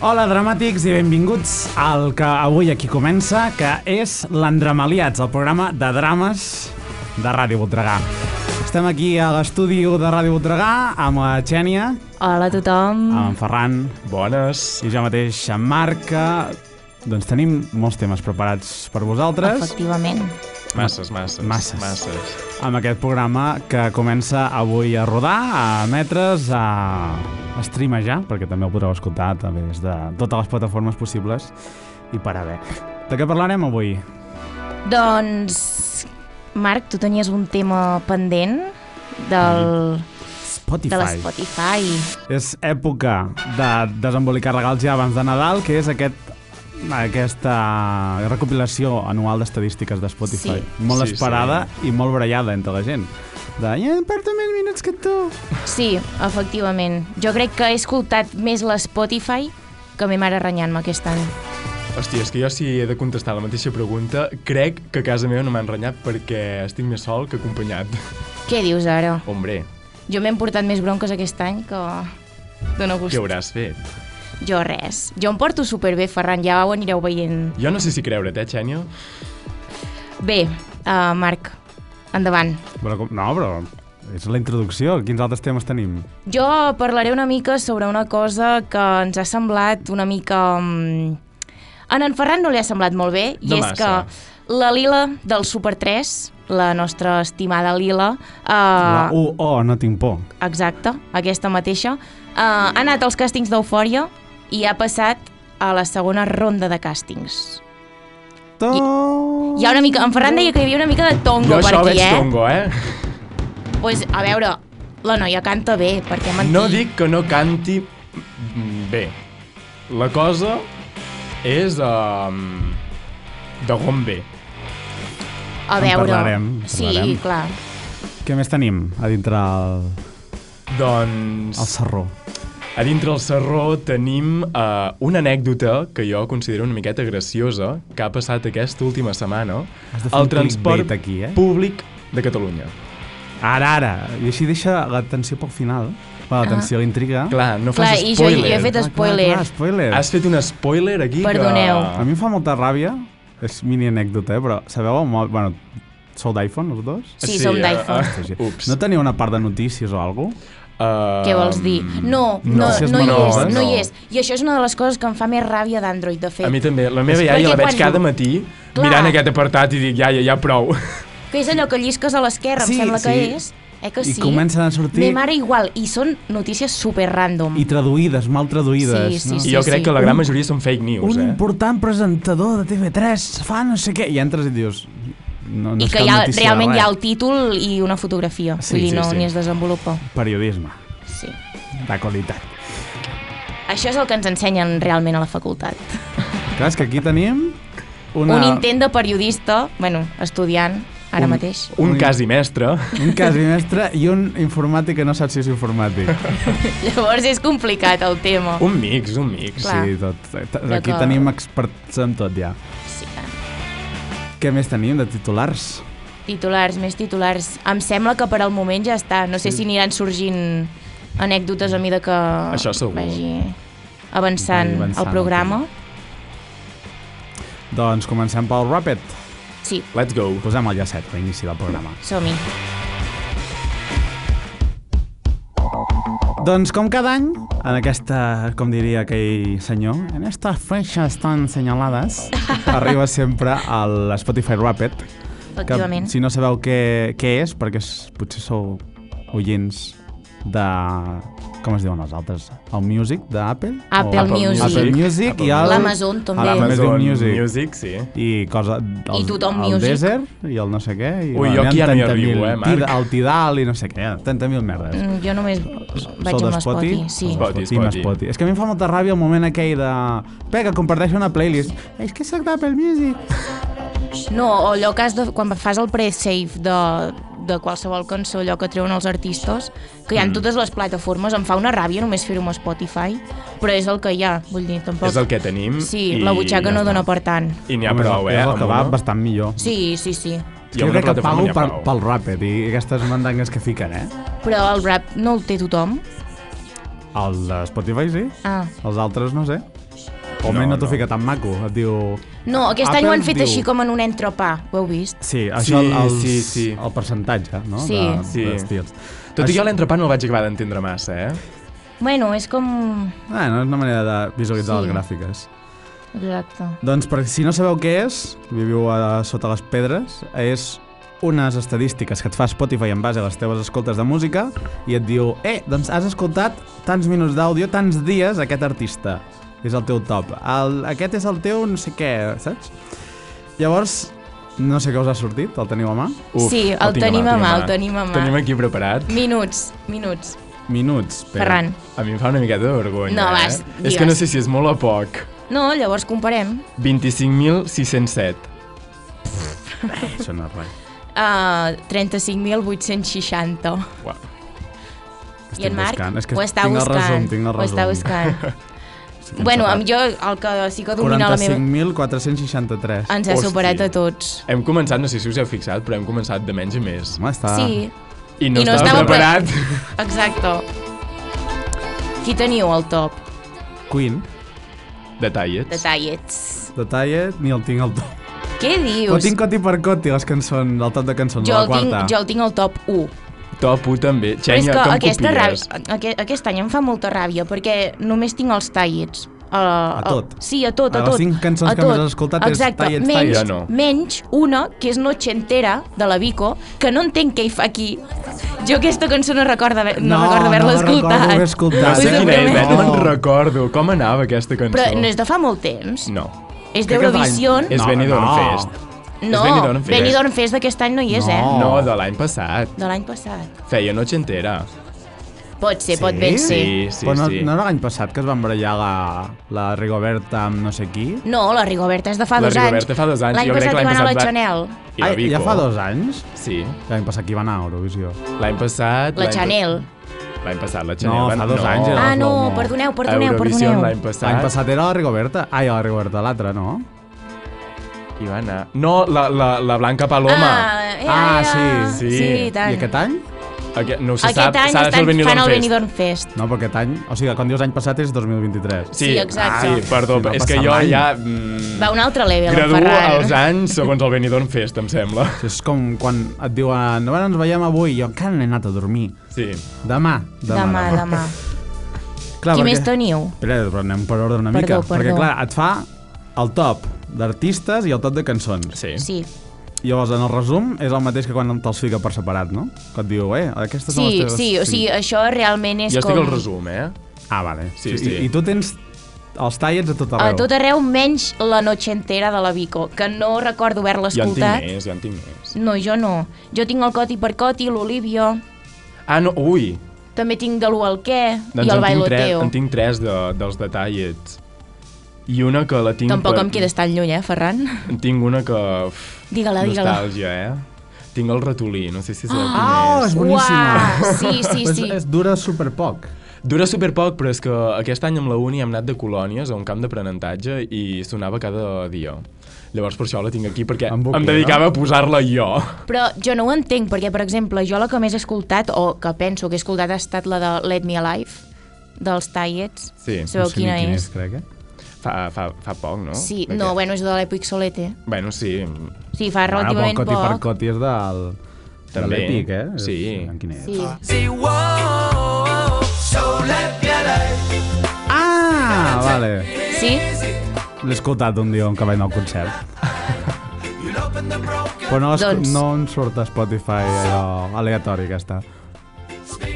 Hola, dramàtics, i benvinguts al que avui aquí comença, que és l'Andramaliats, el programa de drames de Ràdio Voltregà. Estem aquí a l'estudi de Ràdio Voltregà amb la Xènia, Hola a tothom. amb en Ferran Bones. i jo mateix, en Marc, que doncs tenim molts temes preparats per vosaltres Efectivament. Masses, masses. Masses. Masses. amb aquest programa que comença avui a rodar, a emetre's, a streamejar, perquè també el podreu escoltar també des de totes les plataformes possibles i per haver. De què parlarem avui? Doncs, Marc, tu tenies un tema pendent del, Spotify. de l'Spotify. És època de desembolicar regals ja abans de Nadal, que és aquest aquesta recopilació anual d'estadístiques de Spotify. Sí. Molt Sí, esperada i molt brallada entre la gent. De, ja em porto més minuts que tu. Sí, efectivament. Jo crec que he escoltat més l'Spotify que me mare renyant-me aquest any. Hòstia, és que jo si he de contestar la mateixa pregunta, crec que a casa meva no m'han renyat perquè estic més sol que acompanyat. Què dius ara? Hombre, Jo m'he emportat més bronques aquest any que... Dóna gust. què hauràs fet? Jo res. Jo em porto superbé, Ferran, ja ho anireu veient. Jo no sé si creure't, eh, Xènia? Bé, uh, Marc, endavant. Però, com- no, però és la introducció. Quins altres temes tenim? Jo parlaré una mica sobre una cosa que ens ha semblat una mica... mm, En en Ferran no li ha semblat molt bé, i No és massa. que la Lila del Super 3, la nostra estimada Lila, eh, La U, O, no tinc por. exacte, aquesta mateixa, eh, ha anat als càstings d'Eufòria i ha passat a la segona ronda de càstings. Tot... Hi ha una mica... En Ferran deia que hi havia una mica de tongo jo per això ho aquí, veig eh? tongo, eh? Pues, a veure, la noia canta bé, perquè mentir... No dic que no canti mm, bé. La cosa és... Um, de gombe. A En veure... parlarem, en sí, parlarem. clar. Què més tenim a dintre el, Doncs... el serró? A dintre el serró tenim eh, una anècdota que jo considero una miqueta graciosa que ha passat aquesta última setmana Has de fer al un transport clickbait aquí, eh? públic de Catalunya. Ara, ara. I així deixa l'atenció pel final. L'atenció, ah. l'intriga. Clar, no Clar, fas i jo- jo he spoiler. fet Ah, spoiler. Clar, clar, spoiler. Has fet un spoiler aquí Perdoneu. A mi em fa molta ràbia, és mini anècdota, eh? però sabeu el mòbil... Bueno, sou d'iPhone, els dos? que... Sí, som eh, d'iPhone. eh, ups. No teniu una part de notícies o alguna cosa? Eh, Què vols dir? No, no. no, Si eh? no, hi és, menors, no hi no. és. I això és una de les coses que em fa més ràbia d'Android, de fet. A mi també. La meva És iaia perquè la veig quan- cada matí Clar. mirant aquest apartat i dic, iaia, ja prou. Que és allò que llisques a l'esquerra, Sí, em sembla que sí. és. Eh que I sí? comencen a sortir- Me mare igual, i són notícies super random. I traduïdes, mal traduïdes. Sí, sí, no? sí. I jo crec que la gran Un- majoria són fake news, Un eh? important presentador de TV3 fa no sé què. I entres i dius... No, no I és que cap hi ha, notícia de realment hi ha res. el títol i una fotografia. Sí, Vull dir, sí, no, sí. ni es desenvolupa. Periodisme, Sí. de qualitat. Això és el que ens ensenyen realment a la facultat. Clar, és que aquí tenim... Una... Una... Un intent de periodista, bueno, estudiant, ara Un- mateix. Un Ui. quasi mestre. Un quasi mestre i un informàtic que no sap si és informàtic. Llavors és complicat el tema. Un mix, un mix. Clar. Sí, tot. Aquí D'acord. tenim experts en tot ja. Sí, tant. Què més tenim de titulars? Titulars, més titulars. Em sembla que per al moment ja està. No sé si aniran sorgint anècdotes a mida que Això segur. vagi avançant, Vagi avançant el programa. el Doncs comencem pel Rapid. Sí, Let's go. Posem el llacet a l'inici del programa. som-hi. Doncs com cada any, en aquesta, com diria aquell senyor, en estas fechas tan senyalades, arriba sempre a l'Spotify Rapid. Efectivament. si no sabeu què, què és, perquè és, potser sou oients de... Com es diuen els altres? El Music d'Apple? Apple O- Music. Apple Music Apple i el... L'Amazon també. a l'Amazon Amazon Music. Music, sí. i cosa... El, tothom el music. desert i el no sé què. I, Ui, bueno, jo aquí hi ha ja no hi 30.000, arribo, eh, Marc? Tida- El Tidal i no sé què, 30.000 merdes. Mm, Jo només vaig Sou d'Spoti? amb l'Espoti. Sí. Espoti. Team Spotty. És que a mi em fa molta ràbia el moment aquell de... Pega, comparteix una playlist. És que sóc d'Apple Music. No, o allò que has de, quan fas el pre-save de, de qualsevol cançó, allò que treuen els artistes, que Mm. hi ha en totes les plataformes, em fa una ràbia només fer-ho amb Spotify, però és el que hi ha, vull dir, tampoc... És el que tenim. Sí, i la butxaca ja no està. dona per tant. I n'hi ha prou, eh? És el amb que va una. bastant millor. Sí, sí, sí. És I que jo amb una crec que plataforma pago n'hi ha per, prou. pel ràpid i aquestes mandangues que fiquen, eh? Però el rap no el té tothom. El de Spotify sí. Ah, Els altres no sé. O no, No, no t'ho no. fica tan maco. Et diu... No, aquest Apple any ho han fet diu- així com en un entrepà, ho heu vist? Sí, això Sí, el, els, sí, sí. el percentatge, no? Sí. De, Sí. D'estils. Tot i Això- que jo l'entrepà no el vaig acabar d'entendre massa, eh? Bueno, és com... Bueno, Ah, és una manera de visualitzar Sí. les gràfiques. Exacte. Doncs per si no sabeu què és, viviu a sota les pedres, és unes estadístiques que et fa Spotify en base a les teves escoltes de música i et diu, eh, doncs has escoltat tants minuts d'àudio, tants dies aquest artista. És el teu top. El, aquest és el teu no sé què, saps? Llavors, no sé què us ha sortit, el teniu a mà. Sí, el tinc tenim a mà, el tinc tenim a mà. Tenim aquí preparat. Minuts, minuts. Minuts. Pere. Ferran. A mi em fa una miqueta de vergonya, No, eh? vas, És que no digues. sé si és molt o poc. No, llavors comparem. 25.607. Això no és res. Uh, 35.860. Uau. I en Estic Marc buscant. És que ho està tinc el buscant. resum, tinc el Ho està resum. buscant. Sí que em bueno, separa. amb jo el que sí que domina la meva... Ah, 45.463. Ens ha Hòstia. superat a tots. Hem començat, no sé si us heu fixat, però hem començat de menys a més. Home, està... Sí, I no, I no estava estava pre- preparat. exacte. Qui teniu al top? Queen, Detallets. Detallets. de Tallet, ni el tinc al top. Què dius? Ho tinc coti per coti, les cançons, el top de cançons jo, de la el tinc, quarta. jo el tinc al top 1. Top 1 també. Però és Xenia, que com aquesta copies? ràbia, aquest, aquest any em fa molta ràbia, perquè només tinc els tallets. A, A tot? sí, a tot, A a, les tot. cinc cançons a que tot. més has escoltat és Exacte. tallets, menys, tallets. Jo no. Menys una, que és Noche Entera, de la Vico, que no entenc què hi fa aquí. Jo aquesta cançó no recordo haver- no, No, recordo no haver-la la recordo escoltat. haver escoltat. No Us sé ho quina és, eh? prometo. no me'n recordo. Com anava aquesta cançó? Però no és de fa molt temps. No. És Crec que és d'Eurovisió. d'any. És No, Benidorm no. Fest. No, és Benidorm Fest. Benidorm Fest d'aquest any no hi és, No. eh? No, de l'any passat. De l'any passat. Feia noche entera. Pot ser, pot Sí? ben ser. Sí, sí, Però no, sí. no era l'any passat que es van barallar la, la Rigoberta amb no sé qui? No, la Rigoberta és de fa La dos Rigoberta anys. fa dos anys, L'any jo crec passat hi que l'any va anar passat la va- Chanel. I la Vico. ja fa dos anys? Sí. L'any passat qui va anar a Eurovisió? L'any passat... La l'any- Chanel. L'any passat, la Chanel. No, va- fa dos no. anys era Ah, la no, Slow Mo. perdoneu, A perdoneu, Eurovision perdoneu. l'any passat. L'any passat era la Rigoberta. Ai, la Rigoberta, l'altra, no? I va anar... No, la, la, la Blanca Paloma. Ah, eh, Ah, eh, eh, sí. sí, i tant. I aquest any? Aquest, no ho se Aquest sap, any s'ha de fer estan el Benidorm fan el Fest. Benidorm Fest. No, però aquest any... O sigui, quan dius any passat és 2023. Sí, Sí, exacte. Ai, perdó, Sí, no és passa que jo mai. ja... Mm, Va un altre level, el graduo Ferran. els anys segons el Benidorm Fest, em sembla. És com quan et diuen, no ens veiem avui, jo encara n'he anat a dormir. Sí. Demà, demà. Demà, demà. Clar, perquè- Qui més teniu? Espera, però anem per ordre una Perdó, mica. Perquè, perdó. clar, et fa el top d'artistes i el top de cançons. Sí. Sí. Llavors, en el resum, és el mateix que quan te'ls fica per separat, no? Que et diu, eh, aquestes són les Sí, teves... sí, o sigui, això realment és Jo estic com... al resum, eh? Ah, vale. Sí, sí. I, I tu tens els tallets a tot A arreu. tot arreu, menys la noche entera de la Vico, que no recordo haver-la Jo en tinc escoltat. més, jo en tinc més. No, jo no. Jo tinc el Coti per Coti, l'Olivia, Ah, no, ui. també tinc de l'U al què Doncs i el en, tinc tres, Bailoteo. en tinc tres de, dels detallets. I una que la tinc... Tampoc per... em quedes tan lluny, eh, Ferran? En tinc una que... uf, Digue-la, digue-la. Nostàlgia, eh? Tinc el ratolí, no sé si sabeu quin Ah, és. és boníssima. Uah, sí, sí, Però sí. És, és dura superpoc. Dura superpoc, però és que aquest any amb la uni hem anat de colònies a un camp d'aprenentatge i sonava cada dia. Llavors per això la tinc aquí, perquè En bucle, em dedicava a posar-la jo. Però jo no ho entenc, perquè, per exemple, jo la que més he escoltat, o que penso que he escoltat, ha estat la de Let Me Alive, dels Tallets. Sí, Sabeu no sé ni quina quin és? és, crec, eh? Fa, fa, fa poc, no? Sí, D'aquest. no, bueno, és de l'Epic Solete. Bueno, sí. Sí, Bueno, fa però el relativament Coti per poc. Coti és del... De També. l'Epic, eh? És- Sí. En quin és? Sí. Ah, vale. sí? L'he escoltat un dia on que vaig anar al concert. Però no, doncs... Doncs- no em surt a Spotify allò aleatori aquesta.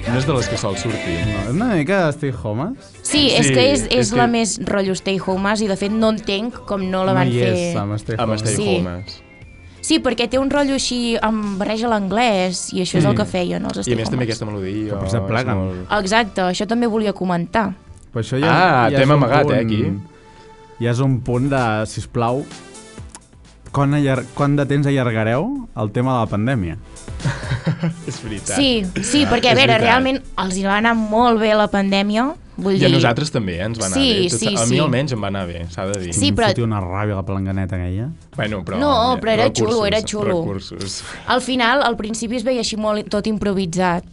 No és de les que sol sortir. No, és una mica Steve Homes. Sí, és Sí, que és, és és que- la més rotllo Stay Home i de fet no entenc com no la van no hi és, fer... amb Steve Amb Homes. Stay Sí. Homes. Sí, perquè té un rotllo així, amb barreja l'anglès, i això és el que feien els I Stay a més també Homes. aquesta melodia... potser és pleguen. Exacte, això també volia comentar. Però això Ah, és tema un amagat, eh, aquí. Ja és un punt de, sisplau, quan, allar quan de temps allargareu el tema de la pandèmia? És veritat. Sí, sí, perquè Ah, a és veure, veritat. realment els hi va anar molt bé la pandèmia, vull I dir... a nosaltres també eh, ens va anar Sí, bé. Tot- sí, a mi sí. almenys em va anar bé, s'ha de dir. Sí, Em però- fotia una ràbia la planganeta aquella. Bueno, però... eh, No, però era recursos, xulo, era xulo. Recursos. Al final, al principi es veia així molt tot improvisat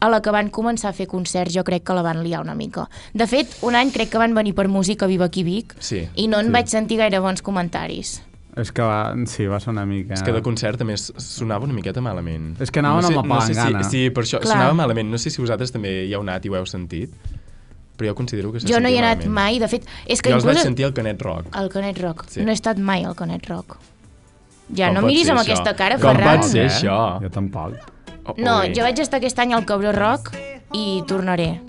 a la que van començar a fer concerts jo crec que la van liar una mica. De fet, un any crec que van venir per música Viva aquí Vic Sí, i no sí. en vaig sentir gaire bons comentaris. És que va, sí, va ser una mica... És que de concert també s- sonava una miqueta malament. Ah. És que anaven amb la no sé palangana. Si, sí, per això, Clar. Clar. sonava malament. No sé si vosaltres també hi heu anat i ho heu sentit, però jo considero que se Jo no hi he sentia anat malament. mai, de fet, és que Jo els vaig inclús sentir al Canet Rock. al Canet Rock. Sí. No he estat mai al Canet Rock. Ja, Com no pot miris ser amb això? aquesta cara, Com Ferran. pot ser? Eh? això. Jo tampoc. Oh, Ah, No, ui. jo vaig estar aquest any al Cabró Rock i tornaré.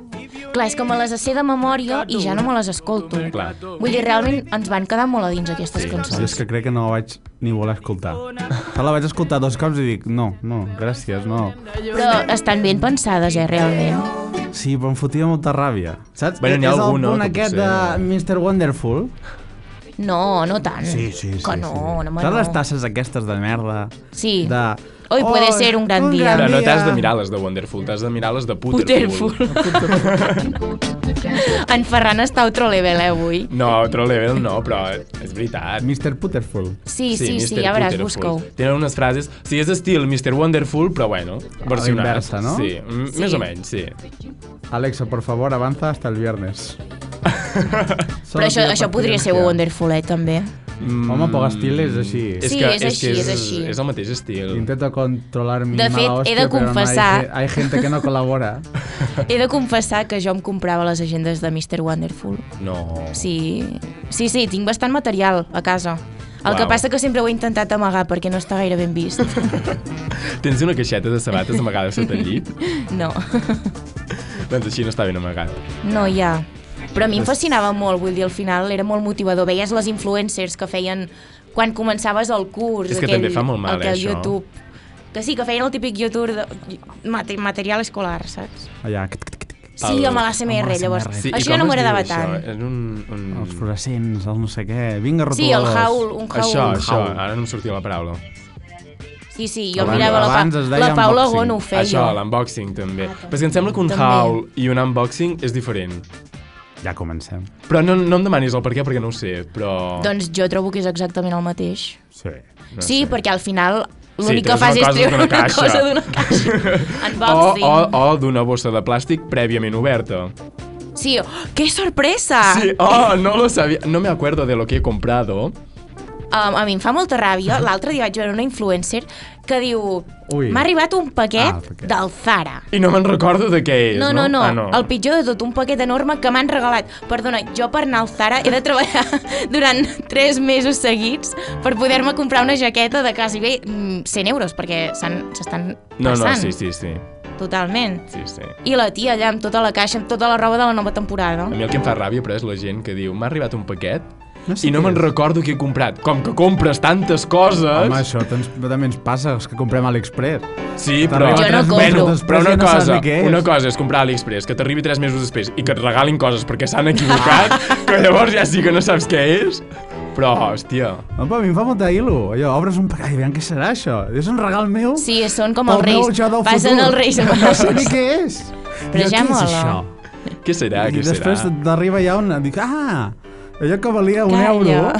Clar, és que me les sé de memòria i ja no me les escolto. Clar. Vull dir, realment ens van quedar molt a dins aquestes Sí. Jo és cançons. que crec que no la vaig ni voler escoltar. Però la vaig escoltar dos cops i dic, no, no, gràcies, no. Però estan ben pensades, eh, realment. Sí, però em fotia molta ràbia. Saps? Bueno, n'hi ha és algú, no, el punt que aquest de potser- Mr. Wonderful. No, no tant. Sí, sí, sí. Que no, sí. no, home, Saps les no. tasses aquestes de merda? Sí. De... Hoy puede ser un gran dia. Però no dia. t'has de mirar les de Wonderful, t'has de mirar les de Puterful. Puterful. en Ferran està a otro level, eh, avui. No, Troll Level no, però és veritat. Mr. Puterful. Sí, sí, sí, Mr. ja veràs, Puterful. busca-ho. Tenen unes frases... Sí, és estil Mr. Wonderful, però bueno, versionat. Ah, inversa, no? Sí, m- Sí. més o menys, sí. Alexa, por favor, avanza hasta el viernes. Però això, això podria ser Wonderful, eh, també. Mm, Home, poc estil és així. Sí, és així, és així. És el mateix estil. Intento controlar mi mala De fet, he hòstia, de però no, confessar- hay, hay gente que no colabora. He de confessar que jo em comprava les agendes de Mr. Wonderful. No. Sí, sí, sí, tinc bastant material a casa. El que Uau. passa que sempre ho he intentat amagar perquè no està gaire ben vist. Tens una caixeta de sabates amagada sota el llit? No, doncs així no està ben amagat. no hi ha. Però a mi em fascinava molt, vull dir, al final era molt motivador. Veies les influencers que feien quan començaves el curs. És que aquell, també fa molt mal, aquell eh, això. YouTube. Que sí, que feien el típic YouTube de mate- material escolar, saps? Allà, tic, tic, tic, Sí, El- amb l'ASMR, amb llavors. l'ASMR. Sí, i Això ja com no es m'agradava diu tant. Això? Eh, És un... un... els fluorescents, el no sé què, vinga, rotuladors. Sí, el haul, un haul. Això, això, Haul. ara no em sortia la paraula. Sí, sí, jo Abans- mirava la, abans es pa deia la Paula unboxing. Gon ho feia. Ah, Això, l'unboxing també. Però és que em sembla que un També. haul i un unboxing és diferent. Ja comencem. Però no, no em demanis el per què, perquè no ho sé, però... Doncs jo trobo que és exactament el mateix. Sí. No sí, sé. perquè al final Ah, Sí, l'únic que treus fas una és cosa treure d'una una caixa. Oh, cosa d'una caixa. O, Unboxing. o, o d'una bossa de plàstic prèviament oberta. Sí, oh, que sorpresa! Sí, oh, no lo sabia. No me acuerdo de lo que he comprado. Um, a mi em fa molta ràbia. L'altre dia vaig veure una influencer que diu Ui. m'ha arribat un paquet Ah, el paquet. del Zara. I no me'n recordo de què és, No, no? no, no, Ah, no. el pitjor de tot, un paquet enorme que m'han regalat. Perdona, jo per anar al Zara he de treballar durant 3 mesos seguits per poder-me comprar una jaqueta de quasi bé mm, 100 euros, perquè s'han- s'estan No, no, passant sí, sí, sí. totalment. sí, sí. I la tia allà amb tota la caixa, amb tota la roba de la nova temporada. A mi el que em fa ràbia, però, és la gent que diu m'ha arribat un paquet No sé i no què me'n és. recordo què he comprat. Com que compres tantes coses... Home, això tens, també ens passa, és que comprem a l'Express. Sí, però... T'arriba Jo no tres compro. mesos després Però i una no saps cosa, ni què és. una cosa és comprar a l'Express, que t'arribi tres mesos després i que et regalin coses perquè s'han equivocat, que llavors ja sí que no saps què és. Però, hòstia... Home, a mi em fa molta il·lu. Allò, obres un paquet, aviam què serà això. És un regal meu? Sí, són com O els meu reis. jo del Passen futur? els reis No sé ni magos. què és. Però Jo, ja què és mola. això? Què serà, I què després serà? t'arriba ja una... Dic, ah, allò que valia un Calla. euro...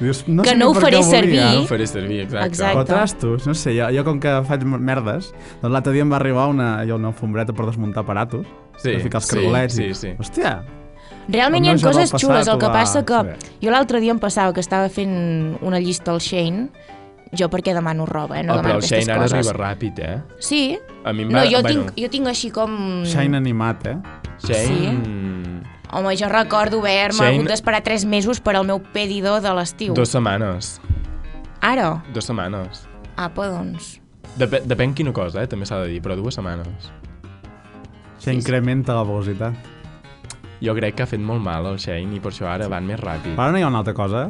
Dius, no Que sé no ni ho per faré què ho volia. servir. Ah, No ho faré servir, exacte. Exacte. Contrastos, no sé, jo, jo com que faig merdes, doncs l'altre dia em va arribar una, jo, una alfombreta per desmuntar aparatos, Sí, per ficar els sí, cargolets, sí, i- sí. hòstia, Mm. Realment hi El ha meu ja coses del xules, el passat que va- passa que... sí. Jo l'altre dia em passava que estava fent una llista al Shane, jo perquè demano roba, eh? no oh, demano però el aquestes Shane ara coses. arriba ràpid, eh? Sí, A mi em no, va... jo, bueno, tinc, jo tinc així com... shine animat, eh? Shane... Home, jo recordo haver-me Shane- hagut d'esperar 3 mesos per al meu pedidor de l'estiu. Dos setmanes. Ara? Dos setmanes. Apa, doncs. Dep depèn quina cosa, eh? També s'ha de dir, però dues setmanes. S'incrementa la velocitat. Jo crec que ha fet molt mal el Shane i per això ara van més ràpid. Ah. Però ara no hi ha una altra cosa,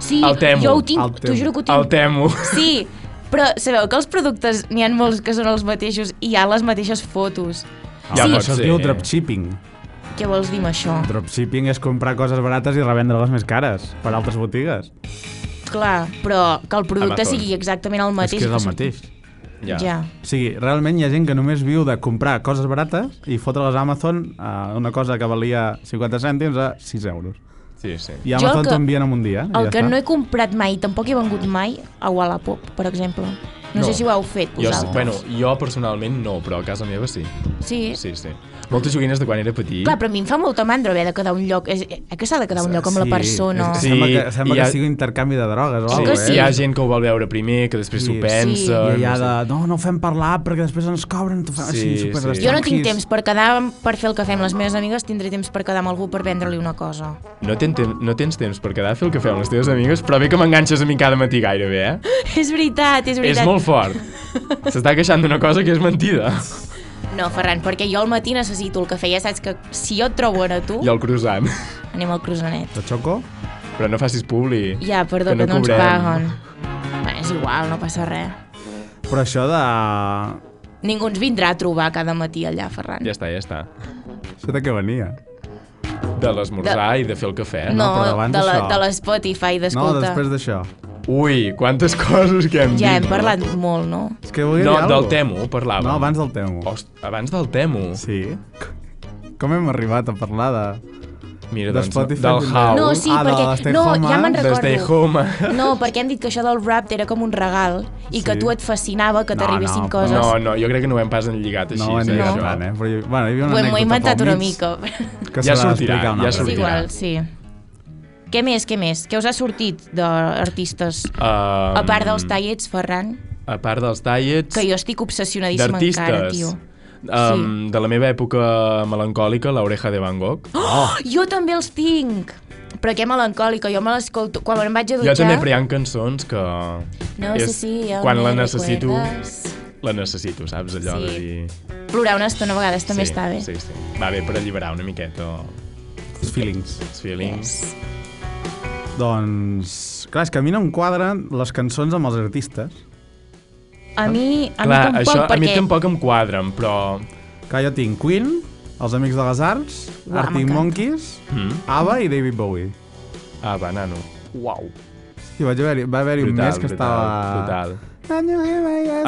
Sí, El temo, jo ho el tinc, t'ho temo. juro que ho tinc. El temo. Sí, però sabeu que els productes n'hi ha molts que són els mateixos i hi ha les mateixes fotos. Ja Home, pot això es ser. diu dropshipping. Què vols dir amb això? Dropshipping és comprar coses barates i revendre-les més cares per altres botigues. Clar, però que el producte Amazon. sigui exactament el Mateix, mateix. és que és el surti- mateix. Ja. O sigui, realment hi ha gent que només viu de comprar coses barates i fotre-les a Amazon a una cosa que valia 50 cèntims a 6 euros. Sí, sí. I Jo el Amazon que- t'ho envien en un dia. i El ja que està. no he comprat mai, tampoc he vengut mai, a Wallapop, per exemple. No, sé si ho heu fet, Jo, vosaltres. bueno, jo personalment no, però a casa meva sí. sí. Sí, sí. Moltes joguines de quan era petit. Clar, però a mi em fa molta mandra haver de quedar a un lloc. És, eh, que s'ha de quedar a un lloc amb la persona. és- Sí, Sembla que, sembla hi ha- que sigui un intercanvi de drogues o Sí, alguna que cosa, sí. Hi eh? ha gent que ho vol veure primer, que després s'ho Sí. Sí. pensa... I I allà no sé. de, no, no ho fem parlar perquè després ens cobren, t'ho fan Sí, així super sí. Jo no tinc temps per quedar, per fer el que fem les meves amigues, tindré temps per quedar amb algú per vendre-li una cosa. No, ten, tem- no tens temps per quedar a fer el que feu amb les teves amigues, però bé que m'enganxes a mi cada matí gairebé, eh? és veritat, és És veritat. molt fort. S'està queixant d'una cosa que és mentida. No, Ferran, perquè jo al matí necessito el cafè. Ja saps que si jo et trobo ara tu, I el croissant. anem al cruzanet. De xoco? Però no facis publi. Ja, perdó, que no, ens cobrem. paguen. Bueno, és igual, no passa res. Però això de... Ningú ens vindrà a trobar cada matí allà, Ferran. Ja està, ja està. Això de què venia? De l'esmorzar i de fer el cafè. no, no, però abans de la, d'això. de la Spotify, No, d'escolta. després d'això. Ui, quantes coses que hem dit. Ja hem parlat molt, no? És que volia No, dir del Oh. alguna cosa. Temo parlàvem. No, abans del Temo. Host, abans del Temo. Sí. Com hem arribat a parlar de... Mira, De doncs, Spotify del també. How. No, sí, Ah, de la perquè... Stay No, Home, ja me'n de recordo. Stay Home. No, perquè hem dit que això del rap era com un regal i que Sí. a tu et fascinava que No, t'arribessin no, coses. No, no, jo crec que no ho hem pas enlligat així. No ho hem eh, dit això. tant, eh? Però, hi- bueno, hi havia una Bueno, m'ho anècdota he inventat pel una mig mica. Que s'ha Ja sortirà, d'explicar una altra ja És sortirà. vegada. igual, sí. Què més, què més? Què us ha sortit d'artistes? Um, A part dels tallets, Ferran, A part dels tallets... que jo estic obsessionadíssima encara, D'artistes. tio. Um, De la meva època melancòlica, l'oreja de Van Gogh. Oh, jo també els tinc! Però que melancòlica, jo me l'escolto... Quan em vaig a jo dutxar... també, però hi ha cançons que... No sé si aún quan me la necessito, recuerdas. la necessito, saps? Allò Sí. de dir... Plorar una estona a vegades també sí, està bé. Sí, sí. Va bé per alliberar una miqueta Els feelings. els feelings. Yes. Doncs... Clar, és que a mi no em quadren les cançons amb els artistes. A mi, a Clar, mi tampoc, això a perquè... mi tampoc em quadren, però... Clar, jo tinc Queen, Els Amics de les Arts, Uah, Arctic m'encanta. Monkeys, Mm. ABBA i David Bowie. Ah, va, nano. Uau. Sí, vaig haver va haver-hi un mes que estava... Brutal. Total.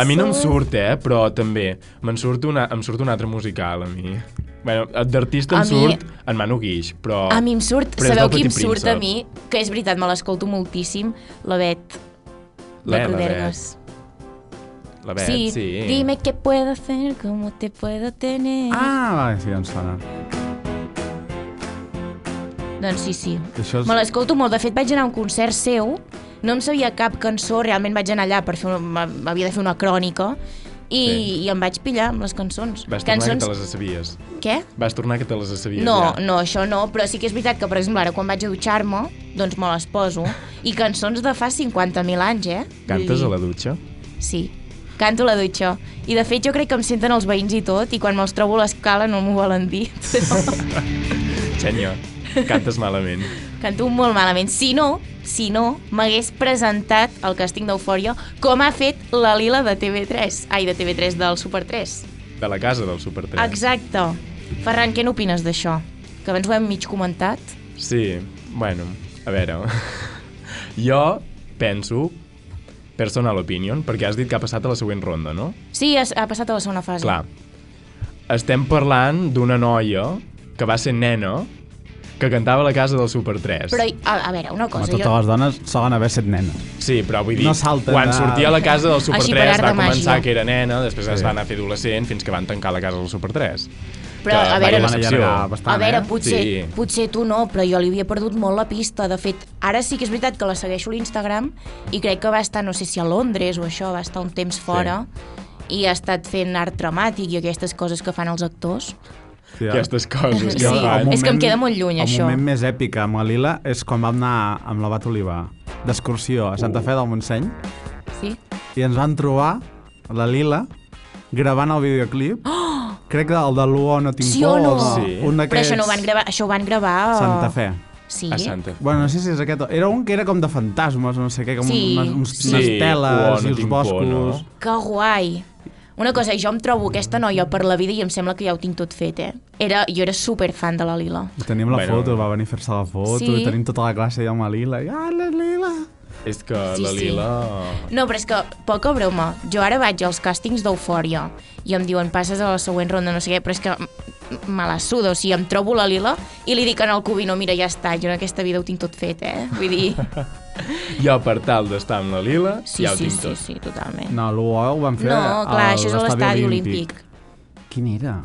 A mi no em surt, eh, però també. Me'n surt, una, em surt un altre musical, a mi. Bueno, d'artista em A mi- surt en Manu Guix, però... A mi em surt, Però és sabeu del qui em Petit surt Príncep. a mi? Que és veritat, me l'escolto moltíssim, la Bet. La- La la Crudergas. La Bet, Sí. sí. sí, dime qué puedo hacer, cómo te puedo tener. Ah, va, sí, em sona. Doncs sí, sí. Això és- Me l'escolto molt. De fet, vaig anar a un concert seu, no em sabia cap cançó, realment vaig anar allà per fer... un- Havia de fer una crònica, i, Sí. i em vaig pillar amb les cançons. Vas tornar cançons... que te les sabies. Què? Vas tornar que te les sabies, No, ja. no, això no, però sí que és veritat que, per exemple, ara quan vaig a dutxar-me, doncs me les poso. I cançons de fa 50.000 anys, eh? Cantes Vull a dir, la dutxa? Sí, canto a la dutxa. I de fet jo crec que em senten els veïns i tot, i quan me'ls trobo a l'escala no m'ho volen dir. Però Senyor, cantes malament. canto molt malament. Si no, si no, m'hagués presentat el càsting d'Eufòria com ha fet la Lila de TV3. Ai, de TV3, del Super 3. De la casa del Super 3. Exacte. Ferran, què n'opines d'això? Que abans ho hem mig comentat. Sí, bueno, a veure... jo penso, personal opinion, perquè has dit que ha passat a la següent ronda, no? Sí, has- ha passat a la segona fase. Clar. Estem parlant d'una noia que va ser nena que cantava a la casa del Super 3. Però, a, a veure, una Home, cosa... totes les dones solen haver set nenes. Sí, però vull dir, No salten quan de- sortia a la casa del Super Així per 3 art va de màgia. començar que era nena, després Sí. es van anar a fer adolescent fins que van tancar la casa del Super 3. Però, que a veure, vaya no- decepció. Van allargar bastant, A veure, eh? potser, Sí. sí. potser tu no, però jo li havia perdut molt la pista. De fet, ara sí que és veritat que la segueixo a l'Instagram i crec que va estar, no sé si a Londres o això, va estar un temps fora i ha estat fent art dramàtic i aquestes coses que fan els actors. Sí, Ja. Aquestes coses Sí. que fan. És que em queda molt lluny, això. El moment més èpic amb la Lila és quan vam anar amb la Bat Oliva d'excursió a Santa Fe del Montseny Sí? i ens van trobar la Lila gravant el videoclip. Oh! Crec que el de l'UO no tinc Sí o por. no? el- Sí. Un Però això no ho van gravar, això ho van gravar a... Santa Fe. Sí. A Santa Fe. Bueno, no sé si és aquest. Era un que era com de fantasmes, no sé què, com Sí. unes, uns, Sí, unes Uo, teles no i uns tinc por, boscos. no? Que guai. Una cosa, jo em trobo aquesta noia per la vida i em sembla que ja ho tinc tot fet, eh? Era, jo era superfan de la Lila. I tenim la Bueno. bueno. foto, va venir a fer-se la foto, Sí. i tenim tota la classe ja amb la Lila. I, ah, la Lila! És que Sí, la sí. Lila... No, però és que, poca broma, jo ara vaig als càstings d'Eufòria i em diuen passes a la següent ronda, no sé què, però és que m- me la suda, o sigui, em trobo la Lila i li dic en el Cubino, mira, ja està, jo en aquesta vida ho tinc tot fet, eh? Vull dir, Jo, per tal d'estar amb la Lila, Sí, ja ho sí, tinc sí, tot. sí, totalment. No, l'UO ho van fer No, clar, a això és a l'estadi olímpic. Quin era?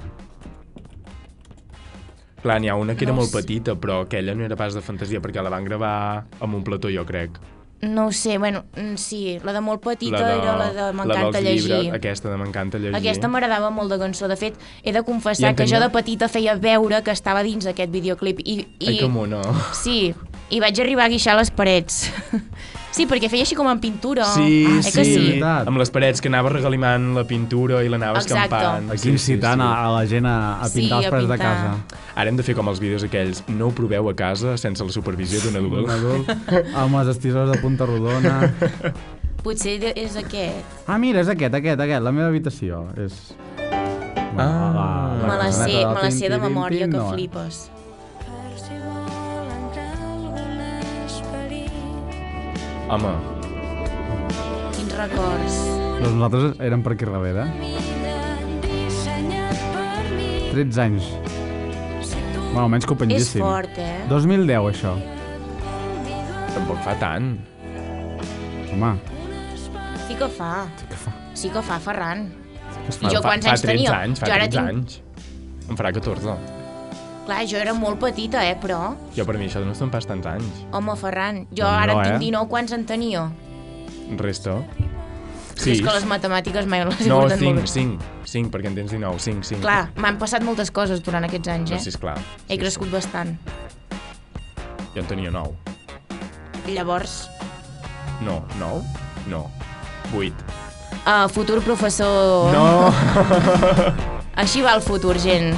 Clar, n'hi ha una que era No molt sé. petita, però aquella no era pas de fantasia, perquè la van gravar amb un plató, jo crec. No ho sé, bueno, mm, sí, la de molt petita de- era la de M'encanta dels llegir. Llibres, aquesta de M'encanta llegir. Aquesta m'agradava molt de cançó. De fet, he de I confessar en que jo tenia- de petita feia veure que estava dins aquest videoclip. I, i... Oh, Ai, com no. Sí, i vaig arribar a guixar les parets. sí, perquè feia així com en pintura. Sí, eh sí, que sí? Veritat. amb les parets que anava regalimant la pintura i l'anava Exacte. escampant. Aquí incitant a, a la gent a, a Sí, pintar els a pares de pintar. casa. Ara hem de fer com els vídeos aquells, no ho proveu a casa sense la supervisió d'un adult. Un adult amb les estissores de punta rodona. Potser de- és aquest. Ah, mira, és aquest, aquest, aquest, la meva habitació. És... Bueno, Ah. La Me la cançoneta sé, del me la sé de tin, tin, tin, memòria, tin, que no, eh? flipes. Per si volen que algun esperit Home, Quins records. Doncs nosaltres érem per aquí darrere. mida dissenyat per mi. 13 anys. Si tu Bueno, almenys que ho És pengéssim. fort, eh? 2010, això. tampoc fa tant. Home, Sí que fa. què fa? Sí que fa, Ferran. Què es I fa? jo quants anys fa 13 tenia? Anys, fa Jo ara 13 tinc- anys. Em farà 14. Clar, jo era molt petita, eh, però... Jo per mi això no són pas tants anys. Home, Ferran, jo No, ara en eh? tinc 19, quants en tenia? Resto. Sí. És que les matemàtiques mai les he No, portat molt 5, bé. 5. 5, perquè en tens 19. 5, 5. Clar, m'han passat moltes coses durant aquests anys, No, eh? sí, esclar. He crescut bastant. Jo en tenia 9. Llavors, No, 9? No. 8. uh, futur professor... No! Així va el futur, gent.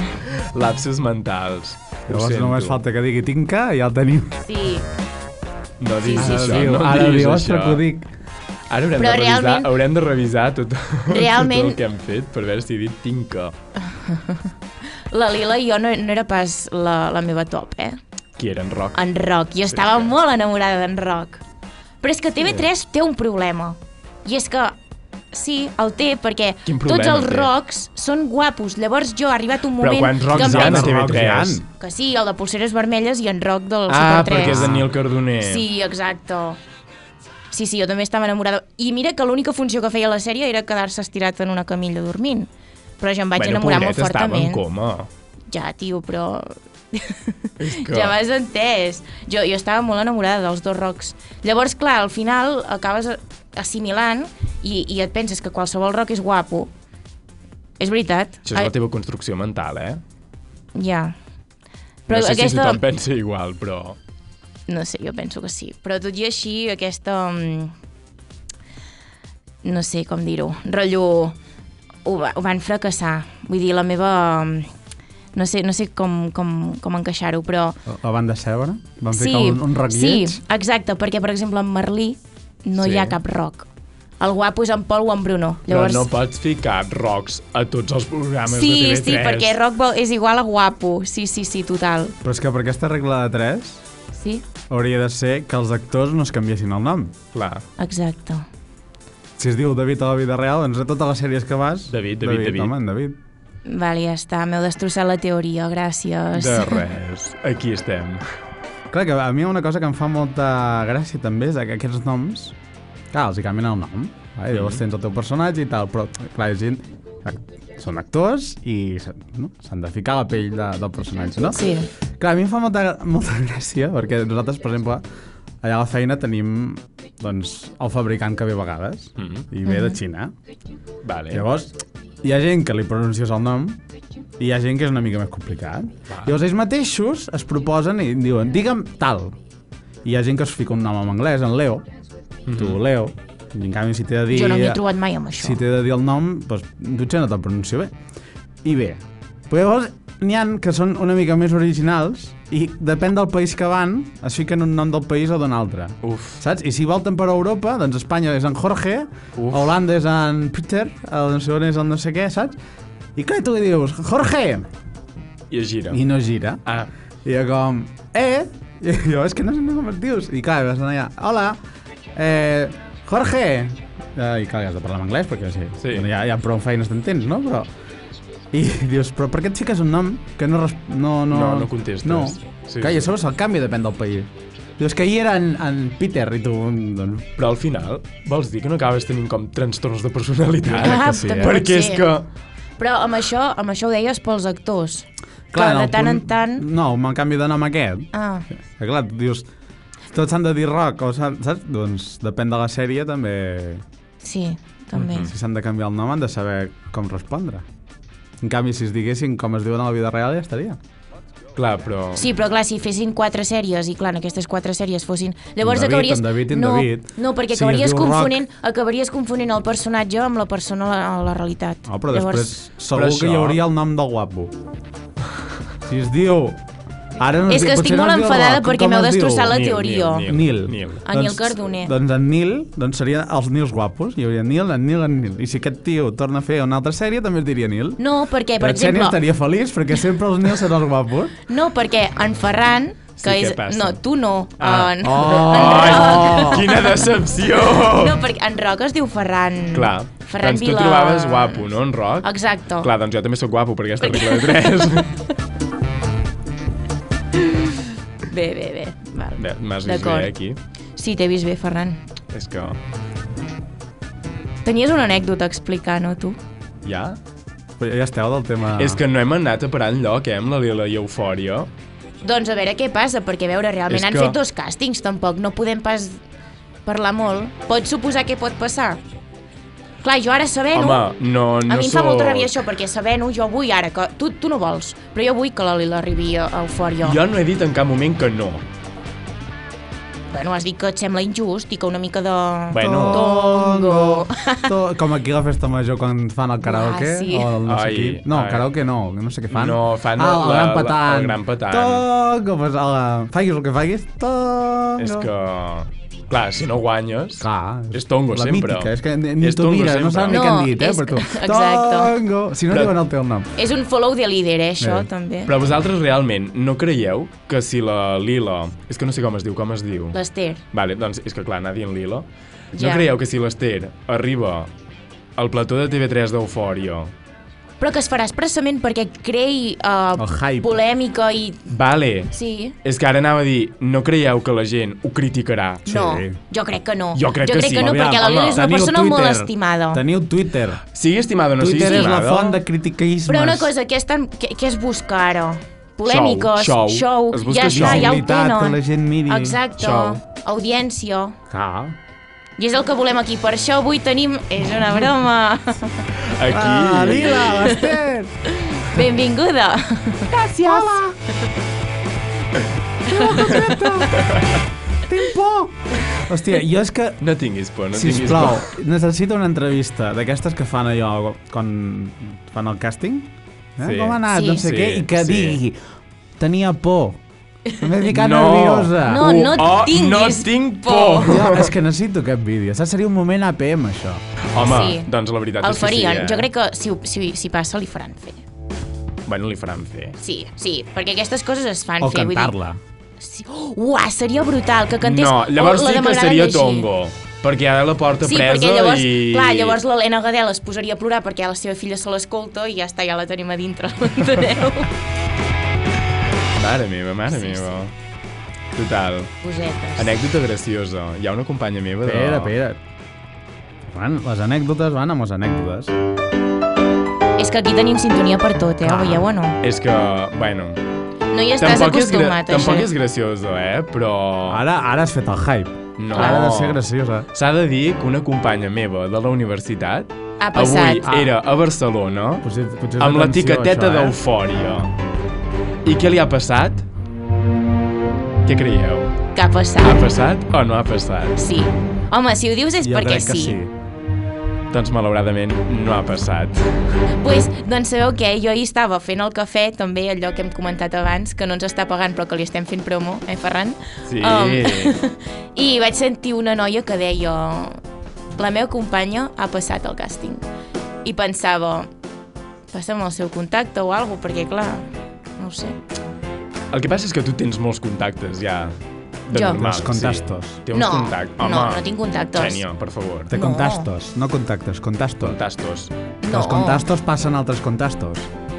Lapses mentals. Ho Llavors sento. només falta que digui tinca i ja el tenim. Sí. No diguis Sí, sí, això, sí. diu, no ara diguis diu, això. ostres, que ho dic. Ara haurem Però de, revisar, realment- haurem de revisar tot, tot Realment- el que hem fet per veure si he dit tinca. La Lila i jo no, no era pas la, la meva top, eh? Qui era en Roc? En Roc. Jo estava molt enamorada d'en Roc. Però és que TV3 té un problema. I és que Sí, el té, perquè Quin tots problema els té? rocs són guapos. Llavors jo ha arribat un Però moment quants que rocs em hi ha a penso- TV3? Rocs hi Que sí, el de Pulseres Vermelles i en Roc del Ah, Super 3. perquè és Daniel Cardoner. Sí, exacte. Sí, sí, jo també estava enamorada. I mira que l'única funció que feia la sèrie era quedar-se estirat en una camilla dormint. Però jo em vaig enamorar molt pobret, estava en fortament. coma. Ja, tio, però... que- ja m'has entès. Jo, jo estava molt enamorada dels dos rocs. Llavors, clar, al final acabes assimilant i, i et penses que qualsevol roc és guapo. És veritat. Això és la teva construcció mental, eh? Ja. no sé si tothom pensa igual, però... No sé, jo penso que sí. Però tot i així, aquesta... mm, No sé com dir-ho. Rotllo... Ho, va, ho van fracassar. Vull dir, la meva... mm, No sé, no sé com, com, com encaixar-ho, però... La van decebre? Van ficar un, un roc sí, lleig? exacte, perquè, per exemple, en Merlí no Sí. hi ha cap roc. El guapo és en Pol o en Bruno. Llavors, Però no pots ficar rocs a tots els programes sí, de TV3. sí, perquè roc vol- és igual a guapo. Sí, sí, sí, total. Però és que per aquesta regla de 3 Sí, hauria de ser que els actors no es canviessin el nom. Clar. exacte. Si es diu David a la vida real, doncs a totes les sèries que vas... David, David, David. Home, en David. Vale, ja està, m'heu destrossat la teoria, gràcies. De res. Aquí estem. Clar, que a mi una cosa que em fa molta gràcia també és que aquests noms, clar, els hi canvien el nom. Eh? Llavors tens el teu personatge i tal, però clar, hi ha gent... Són actors i s'han no? s'han de ficar a la pell de, del personatge, no? Sí. Clar, a mi em fa molta, molta gràcia perquè nosaltres, per exemple, allà a la feina tenim doncs, el fabricant que ve a vegades Mhm. i ve de Xina. Vale. Llavors, hi ha gent que li pronuncies el nom i hi ha gent que és una mica més complicat. Llavors, ells mateixos es proposen i diuen, digue'm tal. I hi ha gent que es fica un nom en anglès, en Leo. Tu, Leo. I en canvi, si t'he de dir... Jo no m'hi he trobat mai amb això. eh, Si t'he de dir el nom, doncs, potser no te'l pronuncio bé. I bé. Però llavors, n'hi han que són una mica més originals i depèn del país que van, es fiquen un nom del país o d'un altre. Uf. Saps? I si volten per Europa, doncs Espanya és en Jorge, Uf. Holanda és en Peter, el no sé on és el no sé què, saps? I clar, tu li dius, Jorge! I es gira. I no gira. Ah, I jo com, eh? I jo, és que no sé com et dius. I clar, vas anar allà, hola, eh, Jorge! Eh, I clar, has de parlar en anglès, perquè sí, Sí. Bueno, ja, ja prou feines t'entens, no? Però... I dius, però per què et fiques un nom que no... res- No, no, No, no contestes. No. Sí, clar, sí. i a sobre se'l canvia, depèn del país. Dius que ahir era en, en Peter i tu... Doncs, Però al final, vols dir que no acabes tenint com trastorns de personalitat? Clar, que sí, eh? també Ah, Perquè pot és ser. que... Però amb això, amb això ho deies pels actors. que de el tant en punt- tant... No, amb el canvi de nom aquest. Ah, Que clar, tu dius... Tots s'han de dir rock, o s'han- saps? Doncs depèn de la sèrie, també... sí, també. Mm. Si s'han de canviar el nom, han de saber com respondre. En canvi, si es diguessin com es diuen a la vida real, ja estaria. Clar, però... Sí, però clar, si fessin quatre sèries i clar, en aquestes quatre sèries fossin... Llavors David, acabaries... en David i en no, David. no, perquè Si es acabaries, diu Roc- confonent, acabaries confonent el personatge amb la persona a la, a la realitat. No, Oh, però Llavors, després segur Però que això- hi hauria el nom del guapo. Si es diu... Ara no es És que diu- potser estic no molt es diu el enfadada rock, com- perquè com m'heu es diu? destrossat la Nil, teoria. Nil, Nil. Nil. A Nil Cardoner. Doncs en Nil, doncs serien els Nils guapos. Hi hauria Nil, en Nil, en Nil. I si aquest tio torna a fer una altra sèrie, també es diria Nil. No, perquè, Eh, per la Xènia exemple... estaria feliç perquè sempre els Nils seran els guapos. No, perquè en Ferran, que Sí, què és... passa? No, tu no. Ah. En, Oh! en Roc. Ai, quina decepció! No, perquè en Roc es diu Ferran... Oh. Clar, Ferran doncs tu Vila... trobaves guapo, no, en Roc? Exacte. Clar, doncs jo també sóc guapo per aquesta regla de 3. Bé, bé, bé. Val. M'has vist D'acord. bé aquí? Sí, t'he vist bé, Ferran. És que... Tenies una anècdota a explicar, no, tu? Ja? Però ja esteu del tema... És que no hem anat a parar enlloc, eh, amb la Lila i Eufòria. Doncs a veure què passa, perquè a veure, realment És han que- fet dos càstings, tampoc no podem pas parlar molt. Pots suposar què pot passar? Clar, jo ara sabent-ho... Home, no, no Eh, a mi em fa sóc- molta ràbia això, perquè sabent-ho jo vull ara que... Tu, tu no vols, però jo vull que la Lila arribi a a Eufòria. Jo no he dit en cap moment que no. Bueno, has dit que et sembla injust i que una mica de... Bueno. Tongo. To- Com aquí a la festa major quan fan el karaoke. Ah, sí. o el no sé Ai, qui. No, ai. karaoke no, no sé què fan. No, fan ah, el, la- gran la- petant. el gran petant. Tongo, pues, a la... facis el que facis, Oh, tongo. És que... Clar, si no guanyes... Clar, És tongo, la sempre. Mítica, és que ni, ni És t'ho tongo mira, no sempre. saben ni No, què han dit, eh, és per tu. que- exacte. Tongo! Si no Però- diuen el teu nom. És un follow de líder, eh, això, Bé. també. Però vosaltres realment no creieu que si la Lila... És que no sé com es diu, com es diu? L'Ester. Vale, doncs és que clar, anar dient Lila. No Ja. creieu que si l'Ester arriba al plató de TV3 d'Eufòria... Però que es farà expressament perquè creï uh, El hype. polèmica i... Vale, Sí. és que ara anava a dir, no creieu que la gent ho criticarà? Sí. No, jo crec que no. Jo crec jo que crec sí. que no, Aviam, perquè la Lola és una Teniu persona Twitter. molt estimada. Teniu Twitter. Sigui estimada o no Twitter sigui és la estimada... font de critiquismes. Però una cosa, què, estan, què, què es busca ara? Polèmiques, Show, show. show, Es busca ja està, show. ja ho Visibilitat, tenen. que la gent miri. Exacte, Show. audiència. Ah. I és el que volem aquí. Per això avui tenim... És una broma. Aquí... Ah, Lila, Esther! Benvinguda. Gràcies! Hola! Tinc por! Hòstia, jo és que No tinguis por, no tinguis Sisplau, por. necessito una entrevista d'aquestes que fan allò quan fan el càsting. Eh? Sí. Com ha anat, Sí. no sé Sí, què, i que sí. digui tenia por, m'he ficat No. nerviosa. No, no Oh, tinguis no tinc por. Jo, és que necessito aquest vídeo. Saps? Seria un moment APM, això. Home, Sí. doncs la veritat El és que sí, farien. eh? Jo crec que si, ho- si, si passa li faran fer. Bueno, li faran fer. Sí, sí, perquè aquestes coses es fan O fer. vull dir- cantar-la. Sí. Oh, Uah, seria brutal que cantés... No, llavors o la sí de que M'agrada seria llegir. tongo. Perquè ara la porta Sí, presa perquè llavors, i... clar, llavors l'Helena Gadel es posaria a plorar perquè la seva filla se l'escolta i ja està, ja la tenim a dintre, l'enteneu? Mare meva, mare Sí, meva. Total. Cosetes. Anècdota graciosa. Hi ha una companya meva de... Espera, espera. Van, les anècdotes van amb les anècdotes. És que aquí tenim sintonia per tot, eh? Ho veieu o no? És que, bueno... No hi estàs és, gra- acostumat, a tampoc això. és graciosa, eh? Però... Ara ara has fet el hype. No. Ara ha de Oh. ser graciosa. S'ha de dir que una companya meva de la universitat Ha passat. avui era a Barcelona Potser, potser Ah, és amb la atenció, tiqueteta això, eh? d'eufòria. I què li ha passat? Què creieu? Que ha eh, Ha passat. passat o no ha passat? Sí. Home, si ho dius és Jo perquè crec que sí. Doncs malauradament no ha passat. Pues, doncs sabeu què? Jo hi estava fent el cafè, també allò que hem comentat abans, que no ens està pagant però que li estem fent promo, eh, Ferran? Um, Sí. Oh. I vaig sentir una noia que deia la meva companya ha passat el càsting. I pensava, passa'm el seu contacte o alguna perquè clar, no ho sé. El que passa és que tu tens molts contactes ja. De Jo. normal, Tens contactos. Sí. Té uns No, contactes. no, Home, no tinc contactos. Xènia, per favor. Te No. contastos, no contactes, contastos. Contactos. No. Los contastos passen altres contastos.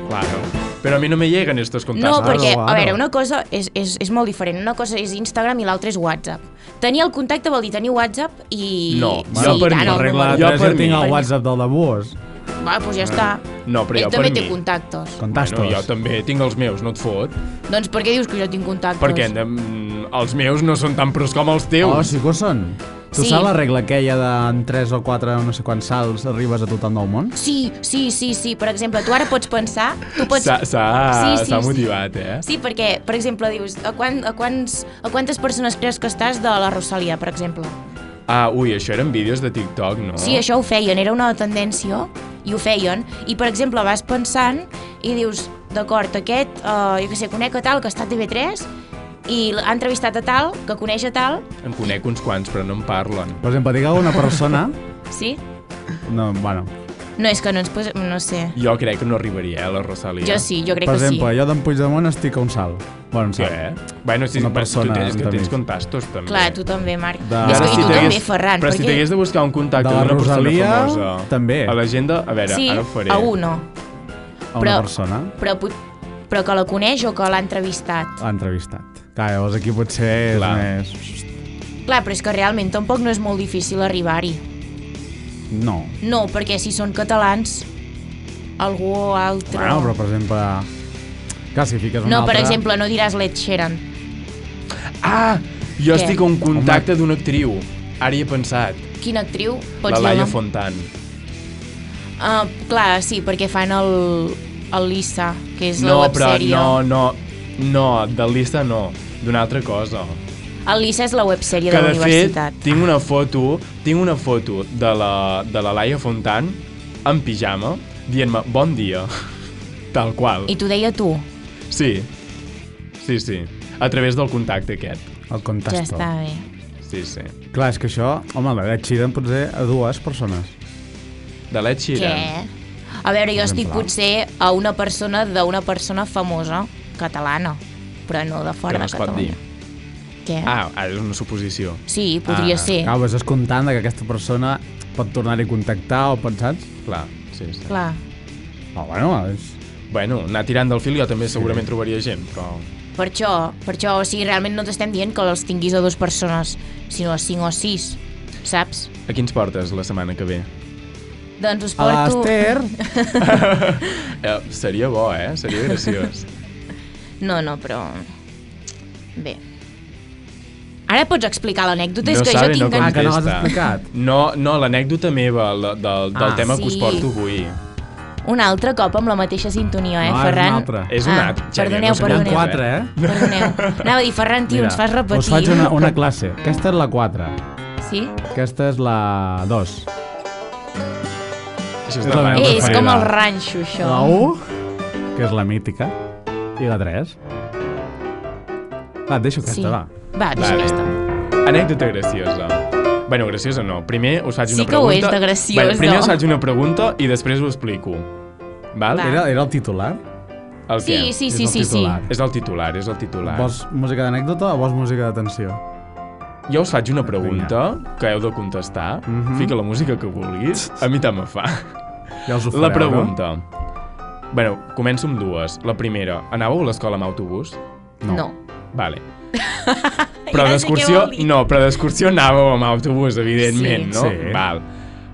Claro. Pero a mí no me llegan estos No, contactos. perquè, Claro, a veure, claro. una cosa és, és, és molt diferent. Una cosa és Instagram i l'altra és WhatsApp. Tenir el contacte vol dir tenir WhatsApp i... No, sí, jo per tant, mi. el Arregla- Regla número. Jo 3 per ja tinc mi. Per el mi. WhatsApp del debús. Va, doncs ja està. No, però jo Ell per també mi. té contactes. Contastos. Bueno, jo també tinc els meus, no et fot. Doncs per què dius que jo tinc contactes? Perquè mm, els meus no són tan pros com els Oh, teus. sí que ho són. Tu Sí. saps la regla aquella de en 3 o 4 no sé quants salts arribes a tothom del món? Sí, sí, sí, sí. Per exemple, tu ara pots pensar... Tu pots... S'ha s'ha- Sí, sí, s'ha sí. motivat, eh? Sí, perquè, per exemple, dius, a, quan, a, quants, a quantes persones creus que estàs de la Rosalia, per exemple? Ah, ui, això eren vídeos de TikTok, no? Sí, això ho feien, era una tendència i ho feien. I, per exemple, vas pensant i dius, d'acord, aquest, eh, jo què sé, conec a tal que està a TV3 i l'ha entrevistat a tal, que coneix a tal, En conec uns quants, però no en parlen. Per exemple, digue una persona... sí? No, bueno, No, és que no ens posem, no sé. Jo crec que no arribaria, eh, a la Rosalia. Jo sí, jo crec per que exemple, sí. jo d'en Puigdemont estic a un salt. Bueno, un Sí, salt. eh? Bueno, sí, Una però persona tu tens, que entre tens mig. contactos, també. Clar, tu també, Marc. De- I, és que, Ara I si tu també, t'hagués- Ferran, Però si perquè... t'hagués de buscar un contacte De la d'una persona Rosalia, famosa... també. A l'agenda... A veure, sí, ara ho faré. a un no. A una però- persona Però, pot- però que la coneix o que l'ha entrevistat. l'ha entrevistat. Clar, llavors aquí potser és Clar. més... Clar, però és que realment tampoc no és molt difícil arribar-hi. No. No, perquè si són catalans, algú altre... Bueno, però per exemple... Clar, si fiques un no, per altre... exemple, no diràs Led Sheeran. Ah! Jo Què? estic a un contacte d'una actriu. Ara hi he pensat. Quina actriu? Pots La dir el Laia nom? Fontan. Ah, clar, sí, perquè fan el, el Lisa, que és No, la però websèrie. no, no, no, de llista no, d'una altra cosa. El Lisa és la websèrie Que de la de fet, universitat. tinc una foto, tinc una foto de la, de la Laia Fontan en pijama, dient-me bon dia, tal qual. I t'ho deia tu. Sí, sí, sí, a través del contacte aquest. El Ja contesto. està bé. Sí, sí. Clar, és que això... Home, la de Sheeran potser a dues persones. De l'Ed Sheeran. Què? A veure, jo estic Exemple. potser a una persona d'una persona famosa catalana, però no de Que fora no de es pot Catalunya. Què? Ah, ara és una suposició. Sí, podria Ah, ser. Clar, vas descomptant de que aquesta persona pot tornar-hi a contactar o pensats? Clar, sí, sí. Clar. Ah, bueno, és... Bueno, anar tirant del fil jo també segurament trobaria gent, però... Per això, per això, o sigui, realment no t'estem dient que els tinguis a dues persones, sinó a cinc o sis, saps? A quins portes la setmana que ve? Doncs us A porto... l'Ester... Eh, seria bo, eh? Seria graciós. No, no, però... Bé. Ara pots explicar l'anècdota? és que sabe, jo tinc... Ah, en- que no l'has contesta. explicat. No, no, l'anècdota meva, la, del, del Ah. tema que us Sí. porto avui. Un altre cop amb la mateixa sintonia, eh, No, és un Ferran? altre. És un altre. Ah, Xènia, perdoneu, no sé N'hi perdoneu. ha quatre, eh? Perdoneu. Anava a dir, Ferran, tio, ens fas repetir. us faig una, una classe. Aquesta és la 4. Sí? Aquesta és la 2. Això És és la demà. meva Eh, és preferida. com el ranxo, això. La 1, que és la mítica. I la 3. Va, et deixo aquesta, Sí. va. Va, deixa Vale. aquesta. Anècdota graciosa. Bueno, graciosa no. Primer us faig Sí una que ho pregunta. és de graciosa. Bueno, primer us faig una pregunta i després ho explico. Val? Va. Era, era el titular? El què? Sí, sí, És sí, el sí, sí. titular. És el titular, és el titular. Vols música d'anècdota o vols música d'atenció? Jo us faig una pregunta que heu de contestar. Mhm. Fica la música que vulguis. A mi tant me fa. Ja us ho fareu, La pregunta. Bueno, començo amb dues. La primera, anàveu a l'escola amb autobús? No. No. Vale. Ja Però sé què d'excursió... vol dir. No, però d'excursió anàveu amb autobús, evidentment, Sí. no? Sí. Val.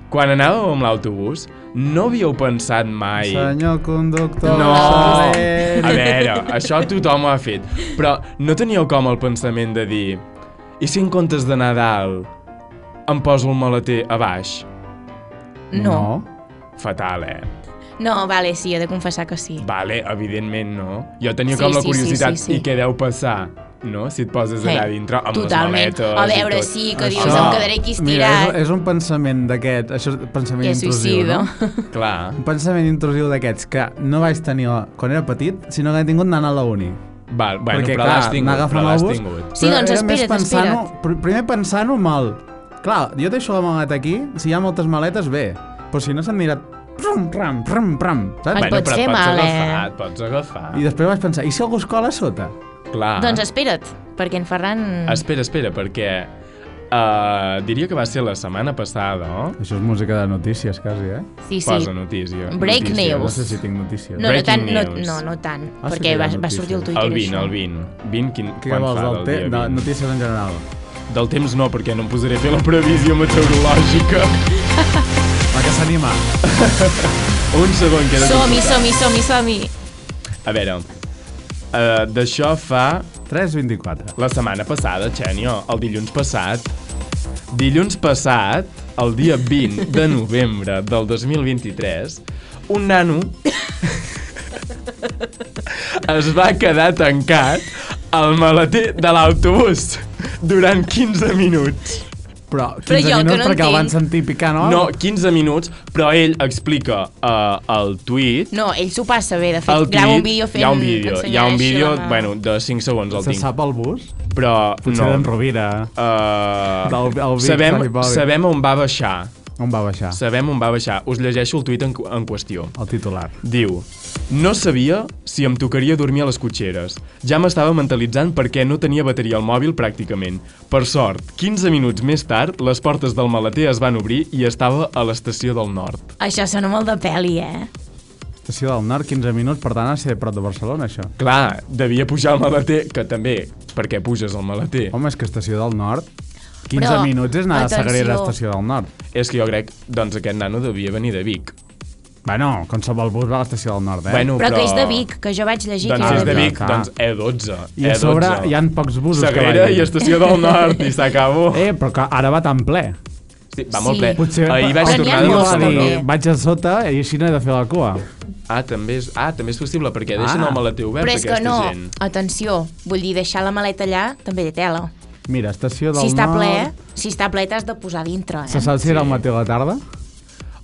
Quan anàveu amb l'autobús, no havíeu pensat mai... Senyor conductor... No! seré- A veure, això tothom ho ha fet. Però no teníeu com el pensament de dir... I si en comptes d'anar a dalt, em poso el maleter a baix? No. Fatal, eh? No, vale, sí, he de confessar que sí. Vale, evidentment no. Jo tenia Sí, sí, com la sí, sí, curiositat, sí, sí, sí, sí. i què deu passar, no? Si et poses Sí, allà dintre amb Totalment. les maletes A veure, i tot. sí, que dius, Això- em quedaré aquí Mira, estirat. és, és un pensament d'aquest, això és pensament Que intrusiu, suïcido. no? Clar, Un pensament intrusiu d'aquests que no vaig tenir quan era petit, sinó que he tingut anant a la uni. val, bueno, Perquè, però clar, l'has tingut, anar agafant però l'has el bus- tingut. Sí, Però doncs era més espera't, pensant-ho- espera't. pr- Primer pensant-ho mal. Clar, jo deixo la maleta aquí, si hi ha moltes maletes, bé. Però si no s'han mirat... Prum, pram, pram, pram, saps? Ai, Bueno, pot però ser et pots mal, eh? agafar, et pots agafar. I després vaig pensar, i si algú es cola a sota? Clar. Doncs espera't, perquè en Ferran... Espera, espera, perquè Uh, diria que va ser la setmana passada, no? Això és música de notícies, quasi, eh? Sí, sí. Posa notícia. Break notícia. No news. sé si tinc notícies. No, no, Breaking tant, no, news. no, no tant, Ah, sí que hi perquè ha va, va notícies. sortir el Twitter El 20, això. el 20. 20, quin, Què quan vols, fa del te... dia de 20? notícies en general? Del temps no, perquè no em posaré a fer la previsió meteorològica. La que s'anima. Un segon queda Som-hi, consultat. som-hi, som-hi, som-hi. A veure, uh, d'això fa 3.24. la setmana passada, Xenio, el dilluns passat. Dilluns passat, el dia 20 de novembre del 2023, un nano es va quedar tancat al maleter de l'autobús durant 15 minuts. Però 15 Però jo el que minuts no perquè el van entenc- sentir picar, no? No, 15 minuts, però ell explica uh, el tuit No, ell s'ho passa bé, de fet, el grava un tuit, vídeo fent... hi ha un vídeo, hi ha ensenyant un això vídeo, amb- bueno, de 5 segons el Se tinc, sap el bus? però Potser d'en no. Rovira. Uh, Del- del Big sabem, Bang Bobby. sabem on va baixar, On va baixar? sabem on va baixar. Us llegeixo el tuit en, cu- en qüestió. El titular. Diu, no sabia si em tocaria dormir a les cotxeres. Ja m'estava mentalitzant perquè no tenia bateria al mòbil pràcticament. Per sort, 15 minuts més tard, les portes del maleter es van obrir i estava a l'estació del nord. Això sona molt de pel·li, eh? Estació del Nord, 15 minuts, per tant, ha de ser prop de Barcelona, això. Clar, devia pujar al maleter, que també, perquè puges al maleter. Home, és que Estació del Nord... 15 Però, minuts és anar a Sagrera a atenció. Estació del Nord. És que jo crec, doncs aquest nano devia venir de Vic. Bueno, qualsevol bus va a l'Estació del Nord, eh? Ah, Bueno, Però, que és de Vic, que jo vaig llegir Doncs que si era és de Vic, Clar. doncs E12. I a sobre E12. hi han pocs busos que eh, doncs, Sagrera vagin. i Estació del Nord, i s'acabó. Eh, però que ara va tan ple. Sí, va molt Sí. ple. Potser Ahir Però n'hi vaig ha tornar de molts va Barcelona. dir, també. vaig a sota i així no he de fer la cua. Ah, també és, ah, també és possible, perquè deixen Ah. el maleter obert, Però és que aquesta no, gent. atenció, vull dir, deixar la maleta allà també té tela. Mira, Estació del Si està Nord... ple, eh? si està ple t'has de posar dintre, Se eh? sap si era al matí o a la tarda?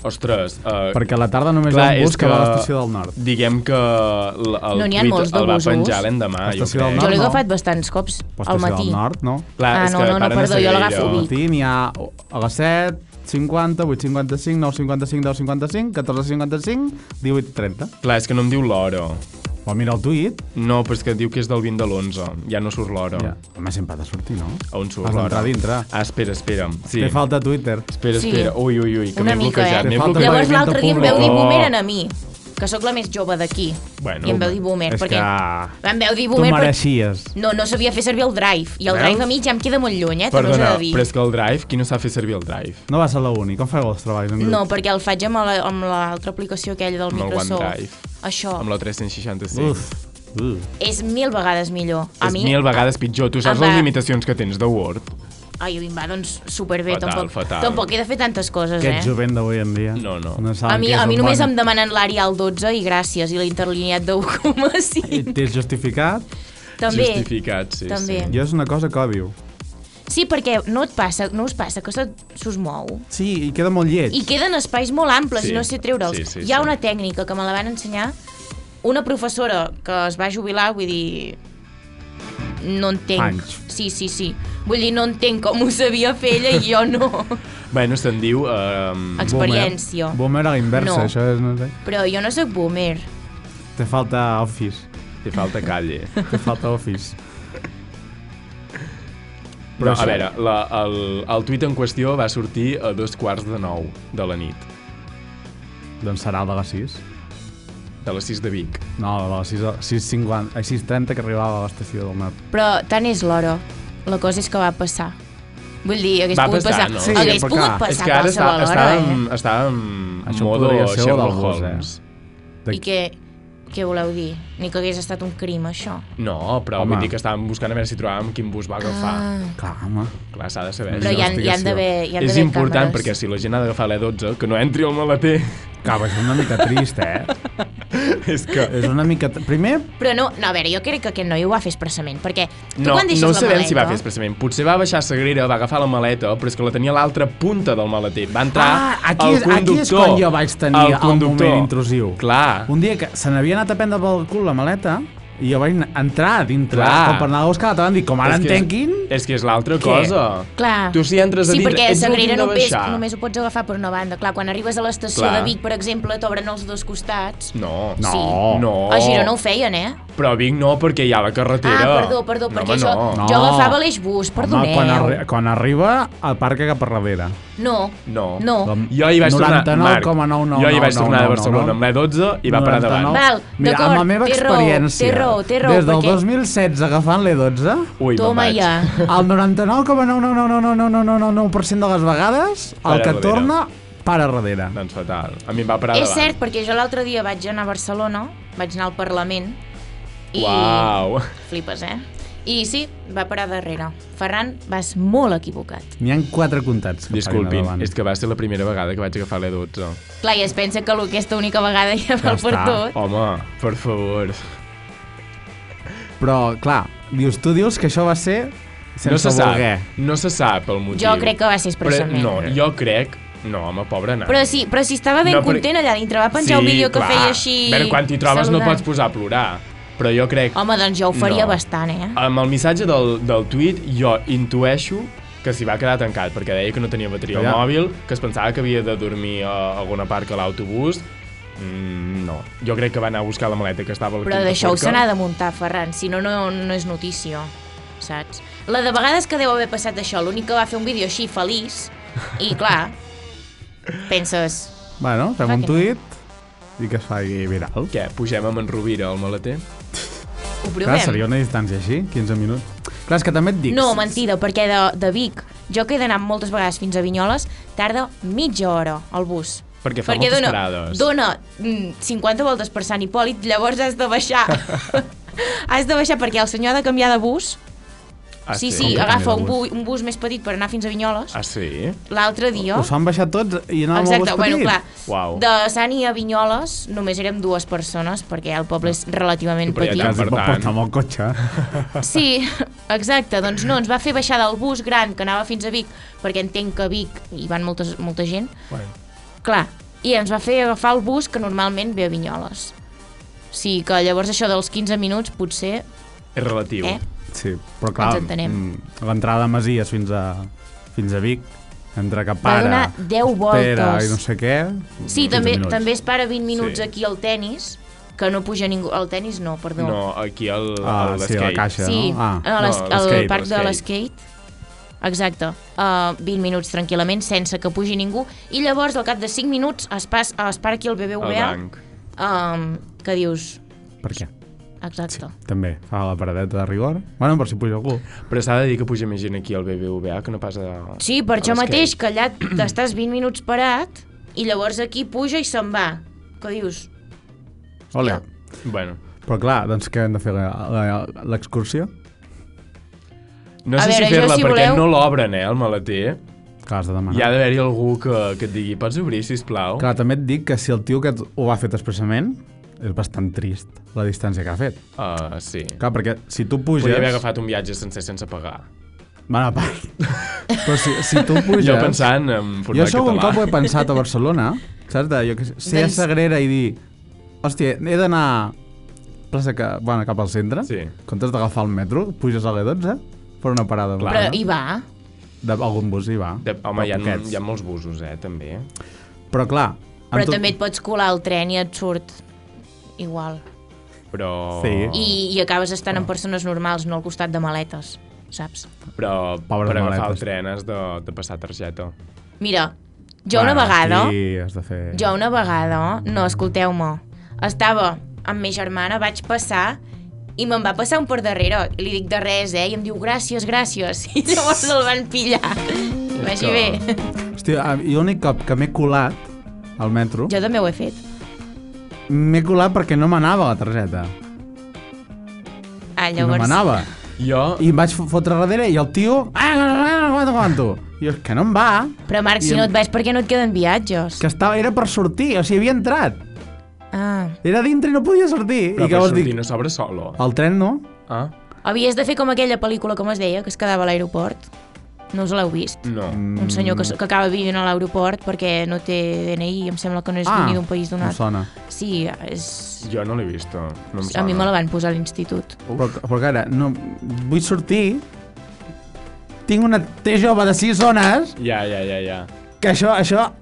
Ostres, uh, Perquè a la tarda només clar, hi ha un és bus que, va a l'estació del nord. Diguem que l- el No, n'hi ha tuit molts de el va busos. penjar l'endemà, jo Estació del crec. Jo l'he no. agafat bastants cops Però al estació matí. del nord, no? Clar, Ah, és no, que no, no, paren a perdó, jo Sagrera. l'agafo Al Vic. matí n'hi ha a les 7, 50, 8, 55, 9, 55, 10, 55, 14, 55, 18, 30. Clar, és que no em diu l'hora. Però mira el tuit. No, però és que diu que és del 20 de l'11. Ja no surt l'hora. Ja. Home, sempre ha de sortir, no? A on surt Has l'hora? d'entrar a dintre. Ah, espera, espera. Sí. Té falta Twitter. Espera, Sí. espera. Ui, ui, ui, que Una m'he mica, bloquejat. eh? m'he Falta bloquejat. Llavors Moviment l'altre dia em públic. veu dir Oh. boomerang a mi, que sóc la més jove d'aquí. Bueno, I em veu dir boomer, és perquè que em veu dir Tu boomer perquè mereixies. no, no sabia fer servir el drive. I el Veus? drive a mi ja em queda molt lluny, eh? També us he Perdona, de dir. però és que el Drive, qui no sap fer servir el Drive? No vas a la uni, com feu els treballs? en grup? No, perquè el faig amb la- amb l'altra aplicació aquella del Amb el OneDrive. Microsoft. Això Amb la 365. Uf. Uh. és mil vegades millor. A És mi, mil vegades pitjor. Tu saps Em va- les limitacions que tens de Word? Ai, a mi em va doncs superbé. Fatal, tampoc, fatal. tampoc he de fer tantes coses, Aquest eh? jovent d'avui en dia. No, no. saben A mi, què és a mi un només bon- em demanen l'àrea al 12 i gràcies, i l'interlineat de 1,5. T'és justificat? També. Justificat, sí, També. sí. Jo és una cosa que odio. Sí, perquè no et passa, no us passa que se't- s'us mou. Sí, i queda molt lleig. I queden espais molt amples Sí, i no sé treure'ls. sí, sí, Hi ha sí. una tècnica que me la van ensenyar una professora que es va jubilar, vull dir... No entenc. Anys. Sí, sí, sí. Vull dir, no entenc com ho sabia fer ella i jo no. Bueno, se'n diu... Um, Ex- experiència. Boomer, Boomer a la inversa, No. això és... No sé. Però jo no sóc boomer. Te falta office. té falta calle. Te falta office. Però, no, això- a veure, la, el, el tuit en qüestió va sortir a dos quarts de nou de la nit, Doncs serà el de les 6. de les 6 de Vic. No, el de les 6, 6.50, ai, 6.30 que arribava a l'estació del Nord. Però tant és l'hora. La cosa és que va passar. Vull dir, hagués Va pogut passar, passar. no? Sí, hagués però pogut clar, passar És que ara està, qualsevol hora, estàvem, estàvem en Això modo podria ser o Sherlock del bus, eh? Holmes. eh? I què, què voleu dir? Ni que hagués estat un crim, això. No, però Home. vull dir que estàvem buscant a veure si trobàvem quin bus va agafar. Clar, home. Clar, s'ha de saber. Ah. Però això. hi han, hi han d'haver hi han És d'haver important càmeres. perquè si la gent ha d'agafar l'E12, que no entri al maleter. Clar, és una mica trist, eh? és que... és una mica... tr- Primer, Però no, no, a veure, jo crec que aquest noi ho va fer expressament, perquè tu No, quan deixes no la sabem maleta... si va fer expressament. Potser va baixar a Sagrera, va agafar la maleta, però és que la tenia a l'altra punta del maleter. Va entrar Ah, aquí el és- aquí és conductor. quan jo vaig tenir el conductor. moment intrusiu. Clar. un dia que se n'havia anat a prendre pel cul la maleta i jo vaig entrar a dintre Clar. com per anar a buscar, la van dir, com ara És que- entenguin, és que és l'altra Què? cosa. Clar. Tu si entres a sí, dintre, perquè ets Sagrera l'últim de només, baixar. només ho pots agafar per una banda. Clar, quan arribes a l'estació Clar. de Vic, per exemple, t'obren els dos costats. No. No. Sí. No. A Girona ho feien, eh? Però a Vic no, perquè hi ha la carretera. Ah, perdó, perdó, no, perquè home, jo, no. No. jo agafava l'eixbús, perdoneu. Home, quan, arri quan arriba, el parca cap per darrere. No. No. Doncs No. Com- Jo hi vaig tornar, Marc, 99,99999. jo hi vaig tornar de Barcelona amb l'E12 i va parar davant. Val, Mira, amb la d'acord, meva té raó, experiència, té raua, té raua, des del perquè- 2016 agafant l'E12, Ui, me'n Toma vaig. ja. el 99,99999% de les vegades, Para el que darrere. torna, para darrere. Doncs fatal. A mi em va parar És davant. cert, perquè jo l'altre dia vaig anar a Barcelona, vaig anar al Parlament, i... Uau. Flipes, eh? I sí, va parar darrere. Ferran, vas molt equivocat. N'hi han quatre comptats que Disculpin, paren és que va ser la primera vegada que vaig agafar l'E12. Clar, i es pensa que aquesta única vegada ja val està. per tot. Home, per favor. Però, clar, dius, tu dius que això va ser sense no se sap, voler. no se sap el motiu. Jo crec que va ser expressament. Però, no, jo crec... No, home, pobra nana. Però sí, però si estava ben No, no, però- content allà dintre, va penjar un vídeo que clar. feia així... A veure, quan t'hi trobes saludant. no pots posar a plorar. Però jo crec... Home, doncs jo ho faria No. bastant, eh? Amb el missatge del, del tuit, jo intueixo que s'hi va quedar tancat, perquè deia que no tenia bateria al Ja. mòbil, que es pensava que havia de dormir a alguna part que l'autobús. Mm, no. Jo crec que va anar a buscar la maleta que estava a la Però quinta deixeu se forca. n'ha de muntar, Ferran, si no, no, no és notícia, saps? La de vegades que deu haver passat això, l'únic que va fer un vídeo així feliç, i clar, penses... Bueno, fem Clar un Ah, que no. tuit i que es faci viral. Què, pugem amb en Rovira al maleter? Ho Clar, provem? seria una distància així, 15 minuts. Clar, és que també et dic... No, mentida, perquè de, de Vic, jo que he d'anar moltes vegades fins a Vinyoles, tarda mitja hora al bus. Perquè fa moltes dona, parades. dona mm, 50 voltes per Sant Hipòlit, llavors has de baixar. has de baixar perquè el senyor ha de canviar de bus. Ah, sí, Com sí, que agafa canvia un, de bu un bus més petit per anar fins a Vinyoles. Ah, sí? L'altre dia... Us fan baixar tots i anar amb el Exacte, bus bueno, petit. clar, Uau. de Sani a Vinyoles només érem dues persones, perquè el poble és relativament Però ja petit. Quasi Per pot tant. portar amb el cotxe. Sí, exacte, doncs no, ens va fer baixar del bus gran que anava fins a Vic, perquè entenc que a Vic hi van moltes, molta gent, Bueno. clar, i ens va fer agafar el bus que normalment ve a Vinyoles. O sigui que llavors això dels 15 minuts potser... És relatiu. Eh? Sí, però clar, Ens entenem. mm, l'entrada a Masies fins a, fins a Vic, entre que Va para, donar 10 espera voltes. i no sé què... Sí, 15 també, minuts. també es para 20 minuts Sí. aquí al tennis, que no puja ningú... Al tennis no, perdó. No, aquí al, Ah, sí, a al la skate. caixa, Sí, no? Ah, a les, no, al l'esquate, parc de l'esquate. l'esquate. Exacte. Uh, 20 minuts tranquil·lament, sense que pugi ningú. I llavors, al cap de 5 minuts, es, pas, es para aquí el Al BBVA, banc. um, que dius... per què? Exacte. També, fa la paradeta de rigor. Bueno, per si puja algú. Però s'ha de dir que puja més gent aquí al BBVA que no pas a... Sí, per a això l'esquate. mateix, que allà t'estàs 20 minuts parat i llavors aquí puja i se'n va. Que dius... Ole. Bueno. Però clar, doncs què hem de fer? la- la- L'excursió? No A sé veure, si jo, fer-la, si perquè voleu- no l'obren, eh, el maleter. Que has de demanar. Hi ha d'haver-hi algú que, que et digui, pots obrir, sisplau? Clar, també et dic que si el tio que ho ha fet expressament és bastant trist la distància que ha fet. Uh, sí. Clar, perquè si tu puges... Podria haver agafat un viatge sencer sense pagar. Bueno, a part. Però si, si tu puges... Jo pensant en Jo format això un català. cop ho he pensat a Barcelona, saps? De, jo que sé, ser a Doncs- Sagrera i dir... Hòstia, he d'anar plaça que, bueno, cap al centre. Sí. En comptes d'agafar el metro, puges a l'E12, per una parada. Clar. Però Però, hi va. De, algun bus hi va. De, home, hi ha, Poquets. hi ha molts busos, eh, també. Però clar... amb Però tot- també et pots colar al tren i et surt igual. Però... Sí. I, i acabes estant Oh. amb persones normals, no al costat de maletes, saps? Però Pobres per agafar maletes. el tren has de, de passar targeta. Mira, jo una Bueno, vegada, Sí, has de fer... jo una vegada, no, escolteu-me, estava amb ma germana, vaig passar i me'n va passar un per darrere. I li dic de res, eh? I em diu gràcies, gràcies. I llavors el van pillar. I vagi que- bé. Hòstia, a- jo l'únic cop que m'he colat al metro, Jo també ho he fet. m'he colat perquè no m'anava la targeta. Ah, I no llavors... m'anava. Jo... I em vaig fo- fotre darrere i el tio... Ah, no, no, no, aguanto, aguanto. I jo, "És que no em va, Però Marc, si I no em- et vas, per què no et queden viatges? que estava, era per sortir, o sigui, havia entrat. Ah, Era dintre i no podia sortir. Però I per llavors sortir dic, no s'obre solo. el tren no? Ah? havies de fer com aquella pel·lícula, com es deia, que es quedava a l'aeroport. No us l'heu vist? No. un senyor que, s- que acaba vivint a l'aeroport perquè no té DNI i em sembla que no és ah, ni d'un país d'un no altre. sona. Sí, és... Jo no l'he vist. No em A mi me sona. la van posar a l'institut. Però, però que ara, no, vull sortir tinc una T jove de 6 zones, Ja, ja, ja, ja. que això... això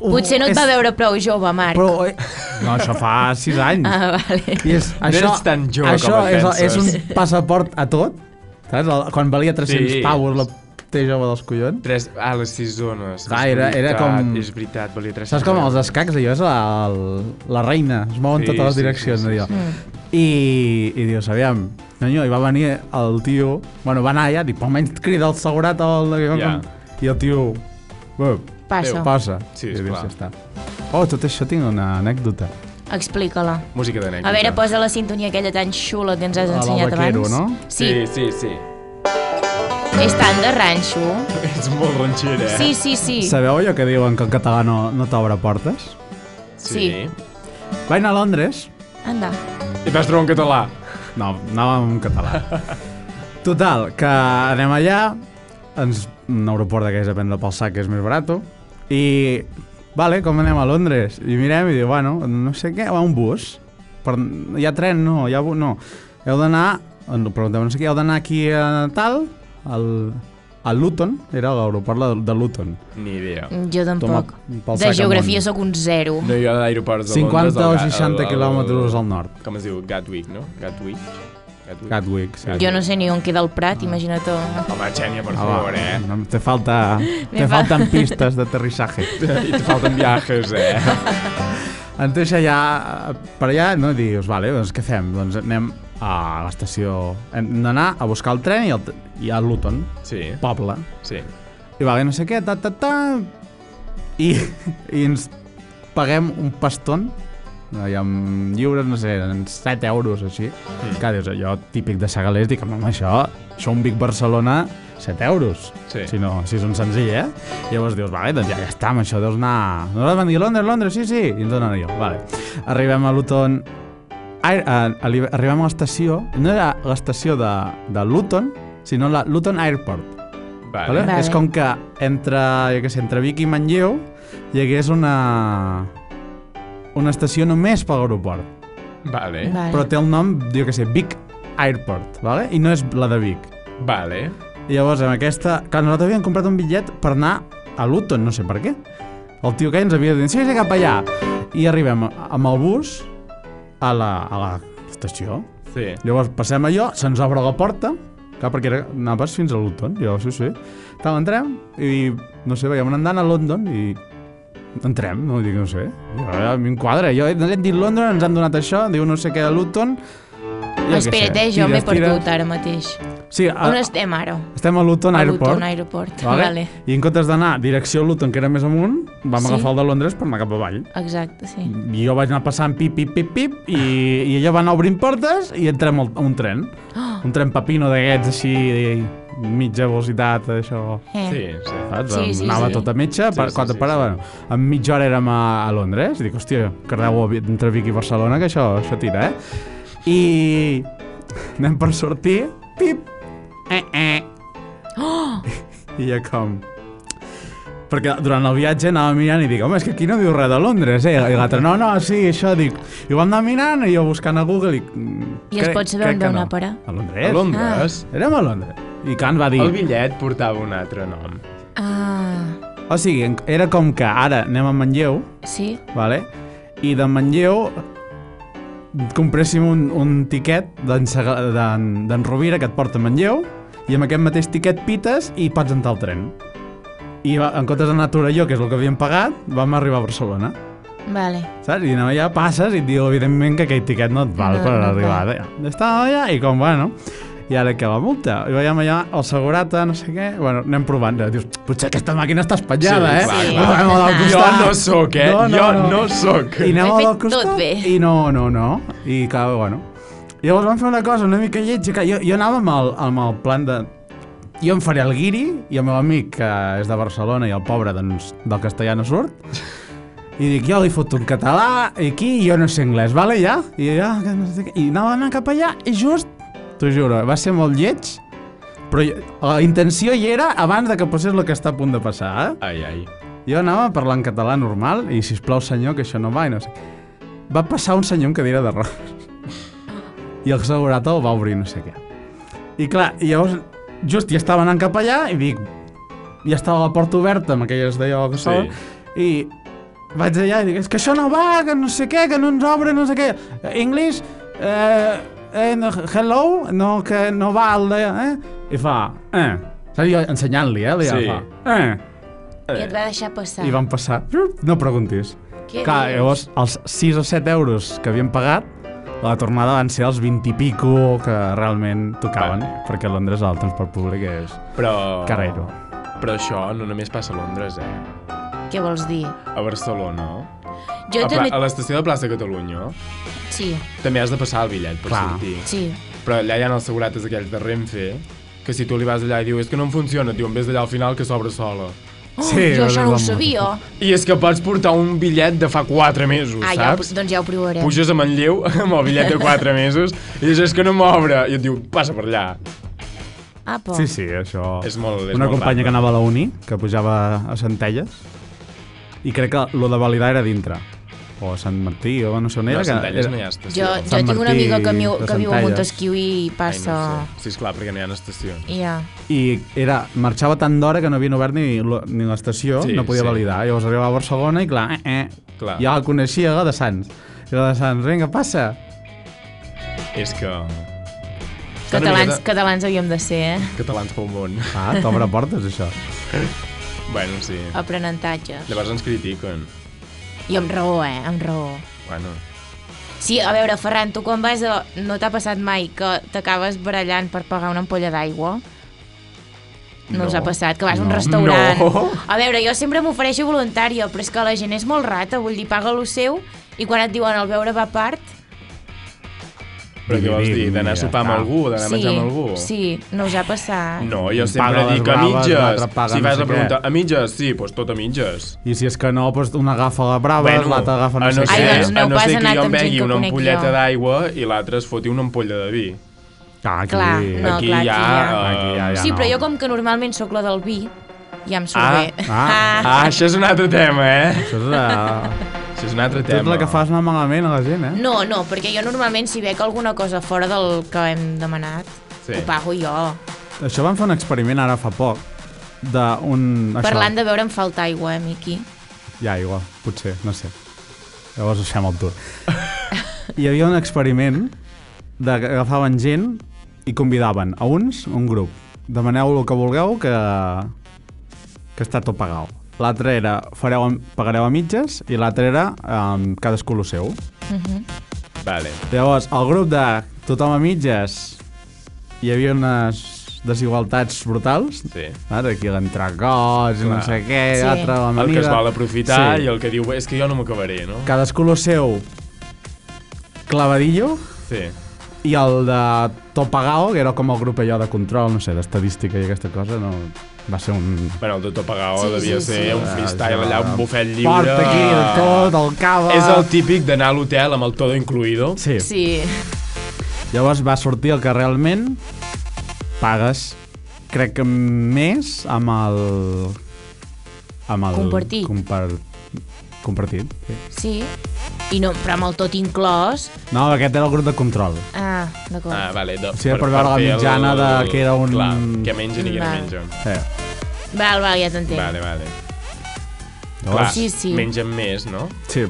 ho- Potser no et Uh, és- va veure prou jove, Marc. Però, eh, no, això fa 6 anys. Ah, vale. I és, No eres tan jove això com et és, penses. és un passaport a tot. Saps? El, quan valia 300 Sí. sí. paus la T jove dels collons. Tres... Ah, les sis zones. Clar, És era- era veritat, com- És veritat, valia tres... Saps com els escacs, allò és la, la reina, es mouen Sí, sí, totes les sí, direccions, sí, sí, sí, sí, allò. I, I dius, aviam, senyor, i va venir el tio, bueno, va anar allà, dic, però almenys crida el segurat o el... Ja. I el tio, bé, Passa. passa. Sí, I és dius, clar. Ja està. Oh, tot això tinc una anècdota. Explica-la. Música d'anècdota. A veure, posa la sintonia aquella tan xula que ens has La del ensenyat vaquero, abans. no? Sí, Sí, sí, sí. és tan de ranxo. Ets molt ranxera, eh? Sí, sí, sí. Sabeu allò que diuen que el català no, no t'obre portes? sí. Vaig anar a Londres Anda. I vas trobar un català. No, anàvem en català. Total, que anem allà, ens, un aeroport d'aquells a prendre pel sac, que és més barat, i, vale, com anem a Londres? I mirem i diu, bueno, no sé què, va un bus. Per, hi ha tren? No, hi ha bus? No. Heu d'anar, en- preguntem, no sé què, heu d'anar aquí a tal, al, a Luton, era l'aeroport de- de Luton. Ni idea. Jo tampoc. Toma, pel sac de amunt. geografia sóc un zero. No hi ha aeroports de 50 o Londres... al Ga- 60 al- al- quilòmetres al nord. Com es diu? Gatwick, no? Gatwick? Gatwick. Gatwick, sí. Jo no sé ni on queda el Prat, imagina't. Home, Xènia, per Ah, favor, eh? no, te falta, te Me fa- falten pistes d'aterrissaje. I te falten viatges, eh? Entonces allà, eh, per allà, no, i dius, vale, doncs què fem? Doncs anem a l'estació, hem d'anar a buscar el tren i, el, t- i a Luton, Sí, poble. sí. I vale, no sé què, ta, ta, ta, i, i ens paguem un paston, allà amb lliures, no sé, en 7 euros, així. Mm. Que dius, allò típic de Segalers, dic, home, això, això un Vic Barcelona, 7 euros. Sí. Si no, si és un senzill, eh? I llavors dius, vale, doncs ja, ja està, amb això deus anar... Nosaltres van dir, Londres, Londres, sí, sí, i ens donen allò, vale. Arribem a Luton, Ai, a, a, li- arribem a l'estació, no era l'estació de, de Luton, sinó la Luton Airport. Vale. Vale. Vale. Vale. És com que entre, jo què sé, entre Vic i Manlleu hi hagués una, una estació només per l'aeroport. Vale. Ah. Vale. Però té el nom, jo què sé, Vic Airport, vale? i no és la de Vic. Vale. I llavors, amb aquesta... Clar, nosaltres havíem comprat un bitllet per anar a Luton, no sé per què. El tio que ens havia dit, sí, sí, cap allà. I arribem amb el bus a la, a la estació. Sí. Llavors passem allò, se'ns obre la porta, clar, perquè era, anaves fins a Luton, jo sí, sí. Tal, entrem i, no sé, veiem una andana a London i entrem, no dic, no sé. Jo, a mi em quadra, jo no li hem dit Londres, ens han donat això, diu no sé què de Luton. Jo què Espera't, sé, eh, jo m'he tires, tires. perdut ara mateix. Sí, a, On estem ara? estem a Luton A Airport. Luton Airport. Vale? Vale. I en comptes d'anar direcció a Luton, que era més amunt, vam Sí. agafar el de Londres per anar cap avall. Exacte, sí. I jo vaig anar passant pip, pip, pip, pip, i, i ella va anar obrint portes i entrem al- a un tren. Un tren papino d'aquests així, mitja velocitat, això... Eh. Sí, sí. Saps? Sí, sí, Anava sí. tot a metge, Sí, per, sí, quan sí, et parava, en mitja hora érem a, a Londres, i dic, hòstia, cardeu entre Vic i Barcelona, que això, això tira, eh? I anem per sortir, pip, eh, eh. Oh! I ja com... Perquè durant el viatge anava mirant i dic, home, és que aquí no diu res de Londres, eh? I l'altre, no, no, sí, això, dic... I ho vam anar mirant i jo buscant a Google i... "Mm, I es pot saber on deu anar a parar? A Londres. A Ah. Londres, Érem a Londres. I Kant va dir... el bitllet portava un altre nom. Ah, O sigui, era com que ara anem a Manlleu, sí? vale? i de Manlleu compréssim un, un tiquet d'en Sega- d'en d'en Rovira que et porta a Manlleu i amb aquest mateix tiquet pites i pots entrar al tren. I va, en comptes d'anar a Torelló, que és el que havíem pagat, vam arribar a Barcelona. Vale. Saps? I anava allà, passes i et diu, evidentment, que aquell tiquet no et val No, per no et arribar. Ja estava allà i com, bueno, i ara que la multa. I veiem allà el segurata, no sé què, bueno, anem provant. I Dius, potser aquesta màquina està espatllada, Sí, eh? clar, clar. Anem a la del Jo costat. no sóc, eh? No, no, jo no. no, sóc. I Ho anem he a la fet costat tot bé. i no, no, no. I clar, bueno. I llavors vam fer una cosa una mica lletja, que jo, jo anava amb el, amb el plan de... Jo em faré el guiri i el meu amic, que és de Barcelona i el pobre doncs, del castellà no surt, i dic, jo li foto en català, i aquí i jo no sé anglès, vale, ja? I, ja, que no sé què. I anava anant cap allà, i just, t'ho juro, va ser molt lleig, però jo- la intenció hi era abans de que passés el que està a punt de passar, eh? Ai, ai. Jo anava a parlar en català normal i, si plau senyor, que això no va i no sé què. Va passar un senyor amb cadira de rodes. I el segurat el va obrir no sé què. I clar, i llavors just hi estava anant cap allà i dic... Ja estava la porta oberta amb aquelles d'allò que Sí. solen. I vaig allà i dic, és que això no va, que no sé què, que no ens obre, no sé què. English, eh, eh, no, hello, no, que no va el de... Eh? I fa... Eh. Saps, jo ensenyant-li, eh? Li Sí. fa, eh. I et va deixar passar. I van passar. No preguntis. Què Clar, dius? llavors, els 6 o 7 euros que havien pagat, a la tornada van ser els 20 i pico que realment tocaven, Vale. perquè a Londres el transport públic és Però... carrero. Però això no només passa a Londres, eh? Què vols dir? A Barcelona. Jo a, pla- també... a l'estació de plaça Catalunya Sí, també has de passar el bitllet per Clar. sortir. sí. Però allà hi ha els segurates aquells de Renfe, que si tu li vas allà i diu és que no em funciona, et diuen vés allà al final que s'obre sola. Oh, Sí, jo això no ho és la sabia. I és que pots portar un bitllet de fa 4 mesos, Ah, ja, saps? doncs ja ho provarem. Puges a Manlleu amb el bitllet de 4 mesos i dius, és que no m'obre. I et diu, passa per allà. Apa. Sí, sí, això... És molt- és Una molt companya raro. que anava a la uni, que pujava a Centelles, i crec que lo de validar era dintre. O a Sant Martí, o no sé on No, era. a que Centelles era- no hi ha estació. Jo, Sant jo tinc un Martí, amigo que, miu, de que viu a Centelles. Montesquieu i Ai, passa... no sé. Sí, esclar, perquè no hi ha estacions. Ja. I era, marxava tan d'hora que no havien obert ni, lo- ni l'estació, Sí, sí, no podia sí. sí. validar. Llavors arribava a Barcelona i clar, eh, eh. Clar. Ja la coneixia, la de Sants. I la de Sants, vinga, passa. És que... Està una Catalans, miqueta- catalans havíem de ser, eh? Catalans pel món. Ah, t'obre portes, això. Bueno, sí. Aprenentatge. Llavors ens critiquen. I amb raó, eh? Amb raó. Bueno, Sí, a veure, Ferran, tu quan vas a... No t'ha passat mai que t'acabes barallant per pagar una ampolla d'aigua? No, us No. ha passat, que vas a un No. restaurant... No. A veure, jo sempre m'ofereixo voluntària, però és que la gent és molt rata, vull dir, paga lo seu, i quan et diuen el beure va a part... però què vols dir? Dividim, D'anar a ja sopar amb està. algú? D'anar a sí, menjar amb algú? sí, no us ha passat. No, jo Un sempre paga les dic a braves, mitges. l'altre paga Si no vas sé a preguntar, què. a mitges? Sí, doncs tot a mitges. I si és que no, doncs un agafa la brava, Bueno, bueno, l'altre agafa no, a sé no Ai, què. doncs no a ho no pas ser ha que anat jo em amb gent begui que una conec ampolleta jo. d'aigua i l'altre es foti una ampolla de vi. Ah, aquí. Clar, no, Aquí clar, hi ha... aquí Aquí eh, ja, ja sí, no. però jo com que normalment sóc la del vi, ja em surt Ah, bé. ah. Ah, això és un altre tema, eh? Això és la... Això és un altre tema. Tot la que fas anar malament a la gent, eh? No, no, perquè jo normalment si veig alguna cosa fora del que hem demanat, Sí. sí. ho pago jo. Això van fer un experiment ara fa poc d'un... això. Parlant de veure em falta aigua, eh, Miqui? Ja, igual, potser, no sé. Llavors deixem el tour. Hi havia un experiment de que agafaven gent i convidaven a uns un grup. Demaneu el que vulgueu que, que està tot pagat. L'altre era fareu, a- pagareu a mitges i l'altre era um, cadascú el seu. Vale. Llavors, el grup de tothom a mitges hi havia unes desigualtats brutals. Sí. Ara aquí l'entrecòs i no Clar. sé què, Sí. sí. l'altre l'amanida... El que es vol aprofitar sí. i el que diu, és que jo no m'acabaré, no? Cadascú lo seu clavadillo Sí. i el de Topagao, que era com el grup allò de control, no sé, d'estadística i aquesta cosa, no... Va ser un... Bueno, el doctor Pagao sí, devia sí, ser sí. un freestyle Ah, allà, un bufet lliure. Porta aquí de tot, el cava... És el típic d'anar a l'hotel amb el todo incluido. Sí. sí. Sí. Llavors va sortir el que realment pagues, crec que més amb el... Amb el... Compartit. Compar... Compartit, sí. Sí. I no, però amb el tot inclòs... No, aquest era el grup de control. Ah, d'acord. Ah, vale. De, Sí, per veure la fer el- mitjana de que era un- Clar, que mengen i que no Vale. mengen. Eh. Val, val, ja t'entenc. Vale, vale. Clar, Llavors, Sí, sí. mengen més, no? Sí.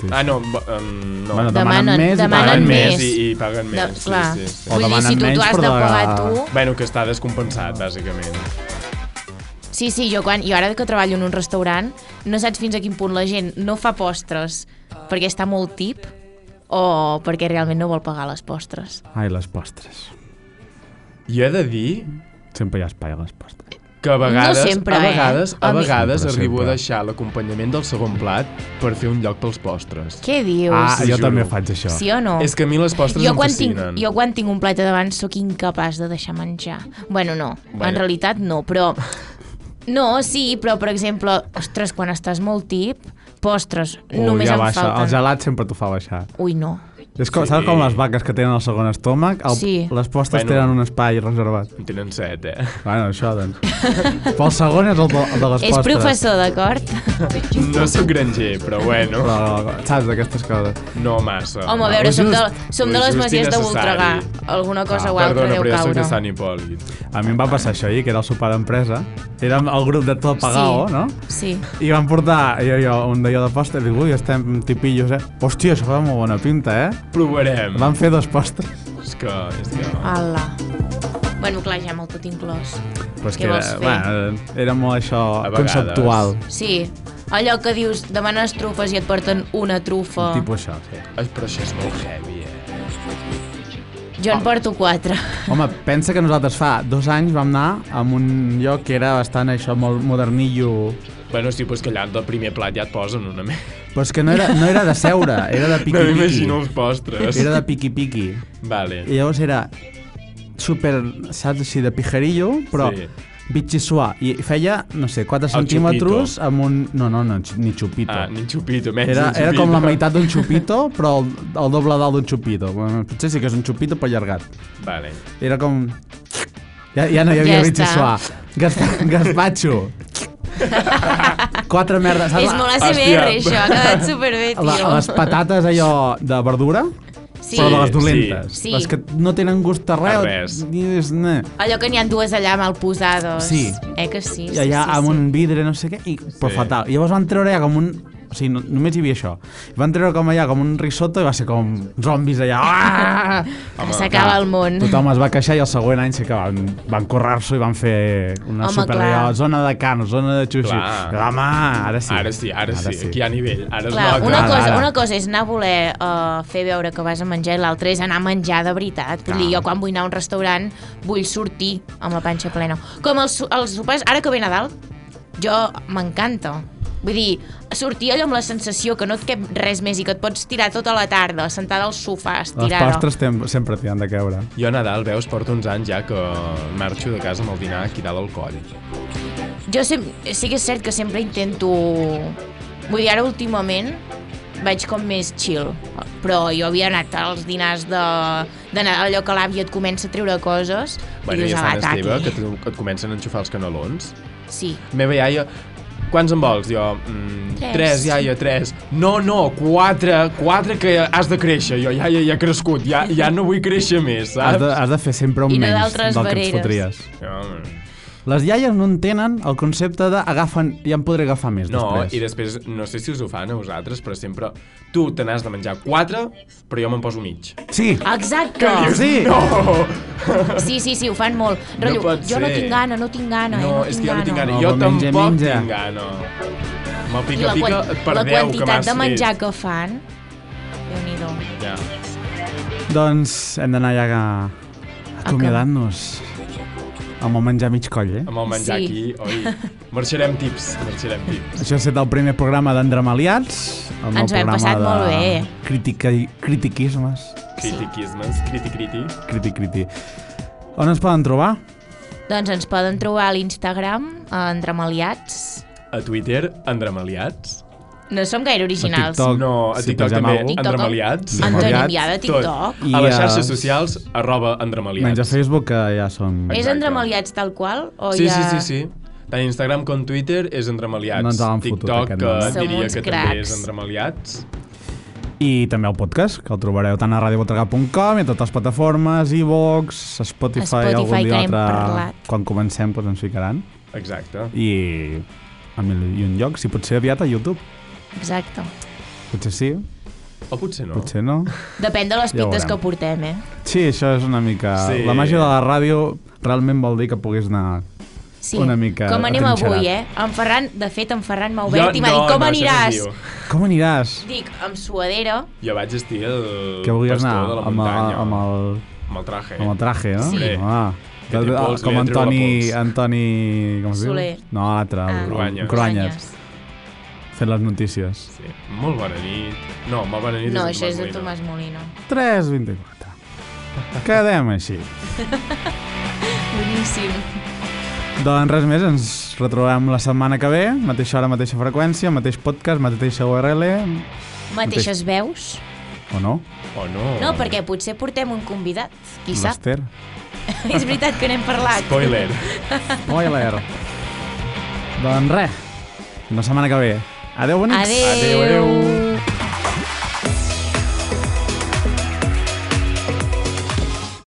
sí. Ah, no, bo- um, no. Bueno, Demanen, Demanen més i demanen, paguen més. i, i paguen De, més. sí, clar. Sí, sí. O Vull dir, si demanen tu menys, t'ho has però de de- pagar tu... Bueno, que està descompensat, bàsicament. Sí, sí, jo, quan, jo ara que treballo en un restaurant no saps fins a quin punt la gent no fa postres perquè està molt tip o perquè realment no vol pagar les postres. Ai, les postres. Jo he de dir Sempre hi ha espai a les postres. que a vegades, sempre, a eh? vegades, a A mi- vegades Sempre, arribo a sempre. deixar l'acompanyament del segon plat per fer un lloc pels postres. Què dius? Ah, sí, jo juro. també faig això. sí o no? És que a mi les postres jo em quan, tinc, fascinen. jo quan tinc un plat a davant sóc incapaç de deixar menjar. Bueno, no, Bueno. en realitat no, però... No, sí, però per exemple, ostres, quan estàs molt tip, postres, només Oh, ja em baixa. falten. El gelat sempre t'ho fa baixar. Ui, no. És com, sí. Saps com les vaques que tenen el segon estómac? El, Sí. Les postes Bueno. bueno. tenen un espai reservat. En tenen set, eh? Bueno, això, doncs. Pel segon és el de, el de les És postres. professor, d'acord? No sóc granger, però bueno, Però, saps d'aquestes coses. no massa. Home, a no. veure, és som de, just- som de és les just masies de innecessari. Voltregà. Alguna cosa o altra Ah, Perdona, deu però jo soc caure. de Sant Hipòlit. A mi em va passar això ahir, que era el sopar d'empresa. Érem el grup de tot pagao, Sí. no? Sí. I van portar jo, jo, un d'allò de postres i dic, ui, estem tipillos, eh? Hòstia, això fa molt bona pinta, eh? Provarem. Van fer dos postres. És que... És que... Ala. Bueno, clar, ja amb el tot inclòs. Però és Què que era, vols fer? bueno, era molt això A vegades. conceptual. Sí. Allò que dius, demanes trufes i et porten una trufa. Tipo això, sí. Ai, però això és molt heavy, eh? Jo Ah. en porto quatre. Home, pensa que nosaltres fa dos anys vam anar a un lloc que era bastant això, molt modernillo. Bueno, sí, però és que allà del primer plat ja et posen una més. Però és que no era, no era de seure, era de No piqui-piqui. m'imagino els postres. era de piqui-piqui. Vale. I llavors era super, saps així, de pijerillo, però Sí. sí. bitxi suà. I feia, no sé, 4 El centímetres amb un... No, no, no, ni xupito. Ah, ni xupito, menys Era, ni xupito. era com la meitat d'un xupito, però el, el doble dalt d'un xupito. Bueno, potser sí que és un xupito, però allargat. Vale. Era com... Ja, ja no hi havia Ja ja bitxi està. suà. Gaspa, gaspatxo. Quatre merdes. saps? És molt ACBR, Hòstia. això. Ha quedat superbé, La, tio. les patates allò de verdura, Sí. però de les dolentes. Sí. Les que no tenen gust a res. A res. Ni és, ne. Allò que n'hi ha dues allà mal posades. Sí. Eh que sí? I allà sí, sí, amb sí. un vidre, no sé què, i, però Sí. fatal. Llavors van treure ja com un... O sigui, no, només hi havia això. Van treure com allà com un risotto i va ser com zombis allà. Ah! Que s'acaba el món. Tothom es va queixar i el següent any sí que van, van currar-s'ho i van fer una Home, superreal clar. zona de carn, zona de xuxi. Clar. Home, ara sí. Ara sí, ara, sí. Aquí hi ha nivell. Ara es Clar, nota. una, Ara, cosa, ara. una cosa és anar a voler uh, fer veure que vas a menjar i l'altra és anar a menjar de veritat. Vull dir, jo quan vull anar a un restaurant vull sortir amb la panxa plena. Com els, so- els sopars, ara que ve Nadal, jo m'encanta. Vull dir, sortir allò amb la sensació que no et cap res més i que et pots tirar tota la tarda, sentada al sofà, Les estirada. postres tem- sempre t'hi han de creure. Jo a Nadal, veus, porto uns anys ja que marxo de casa amb el dinar aquí dalt al coll. Jo sem sí que és cert que sempre intento... Vull dir, ara últimament vaig com més chill, però jo havia anat als dinars de, de Nadal, allò que l'àvia et comença a treure coses Bueno, i i dius, a "Ah, Sant va, Esteve, que taqui". tu- que et comencen a enxufar els canelons. Sí. Meva iaia, quants en vols? Jo, mm, Tres. tres. tres, iaia, tres. No, no, quatre, quatre que has de créixer. Jo, iaia, ja he crescut, ja, ja no vull créixer més, Has saps? de, has de fer sempre un I no menys d'altres del que ens vereres. fotries. No, Les iaies no entenen el concepte de agafen, ja en podré agafar més No, després. i després, no sé si us ho fan a vosaltres, però sempre tu te n'has de menjar quatre, però jo me'n poso mig. Sí, Exacte! Ah. "Eh". sí. No! Sí, sí, sí, ho fan molt. Rotllo, pot jo no ser. tinc gana, no tinc gana, eh, No, és que jo no tinc gana. No, jo però menja, tampoc menja. tinc gana. Me'l I la, pica, pica, quan- et per la 10 que quantitat m'has de menjar fet. que fan... Déu-n'hi-do. Ja. Doncs hem d'anar ja a- acomiadant-nos amb el menjar mig coll, eh? Amb el menjar Sí. aquí, oi? Marxarem tips, marxarem tips. Això ha estat el primer programa d'Andramaliats. El nou Ens ho hem programa passat de molt bé. Critica, critiquismes. Critiquismes, criti-criti. Criti, criti. On ens poden trobar? Doncs ens poden trobar a l'Instagram, eh, a Andramaliats. A Twitter, Andramaliats. No som gaire originals. TikTok. No, a Si TikTok pengem també, algú. TikTok. Andramaliats. Ens Andramaliats, anem ja de Tot. TikTok. I eh, A les a- xarxes socials, arroba Andramaliats. Menys a Facebook, que ja som... És Exacte. Andramaliats tal qual? O Sí, hi ha... sí, sí, sí. Tant Instagram com Twitter és Andramaliats. No ens l'han fotut, TikTok, aquest que nom. Som diria uns que també cracs. és Andramaliats. I també el podcast, que el trobareu tant a radiobotregà.com i a totes les plataformes, iVox, Spotify, Spotify, algun que dia n'hem altre... parlat. Quan comencem, doncs ens ficaran. Exacte. I a mil i un lloc, si potser aviat a YouTube. Exacte. Potser sí, O potser no. potser no. Depèn de les Ja ho pintes veurem. que portem, eh? Sí, això és una mica... Sí. La màgia de la ràdio realment vol dir que puguis anar... Sí. Una mica Com anem atrinxerat. avui, eh? En Ferran, de fet, en Ferran m'ha obert i m'ha dit, com no, això no es aniràs? diu. Com aniràs? Dic, amb suadera. Jo vaig estil Que volies pastor anar de la amb, el, muntanya. amb, el, Amb el traje. amb el traje, no? Sí. Ah, Que té pols, com li ha tret la Antoni, pols. Antoni... Com es diu? Soler. No, l'altre, Ah. el- el Cruanyes. Cruanyes. Fent les notícies. Sí. Molt bona nit. No, molt bona nit No, és això és de Molina. Tomàs Molino. 3.24. Quedem així. Boníssim. Doncs res més, ens retrobem la setmana que ve, mateixa hora, mateixa freqüència, mateix podcast, mateixa URL, Mateixes veus. o no? O Oh, no? No, perquè potser portem un convidat, qui sap. L'Ester? És veritat que n'hem parlat. Spoiler. Spoiler! doncs res, la setmana que ve. Adéu, bonics! Adéu. Adéu, adéu.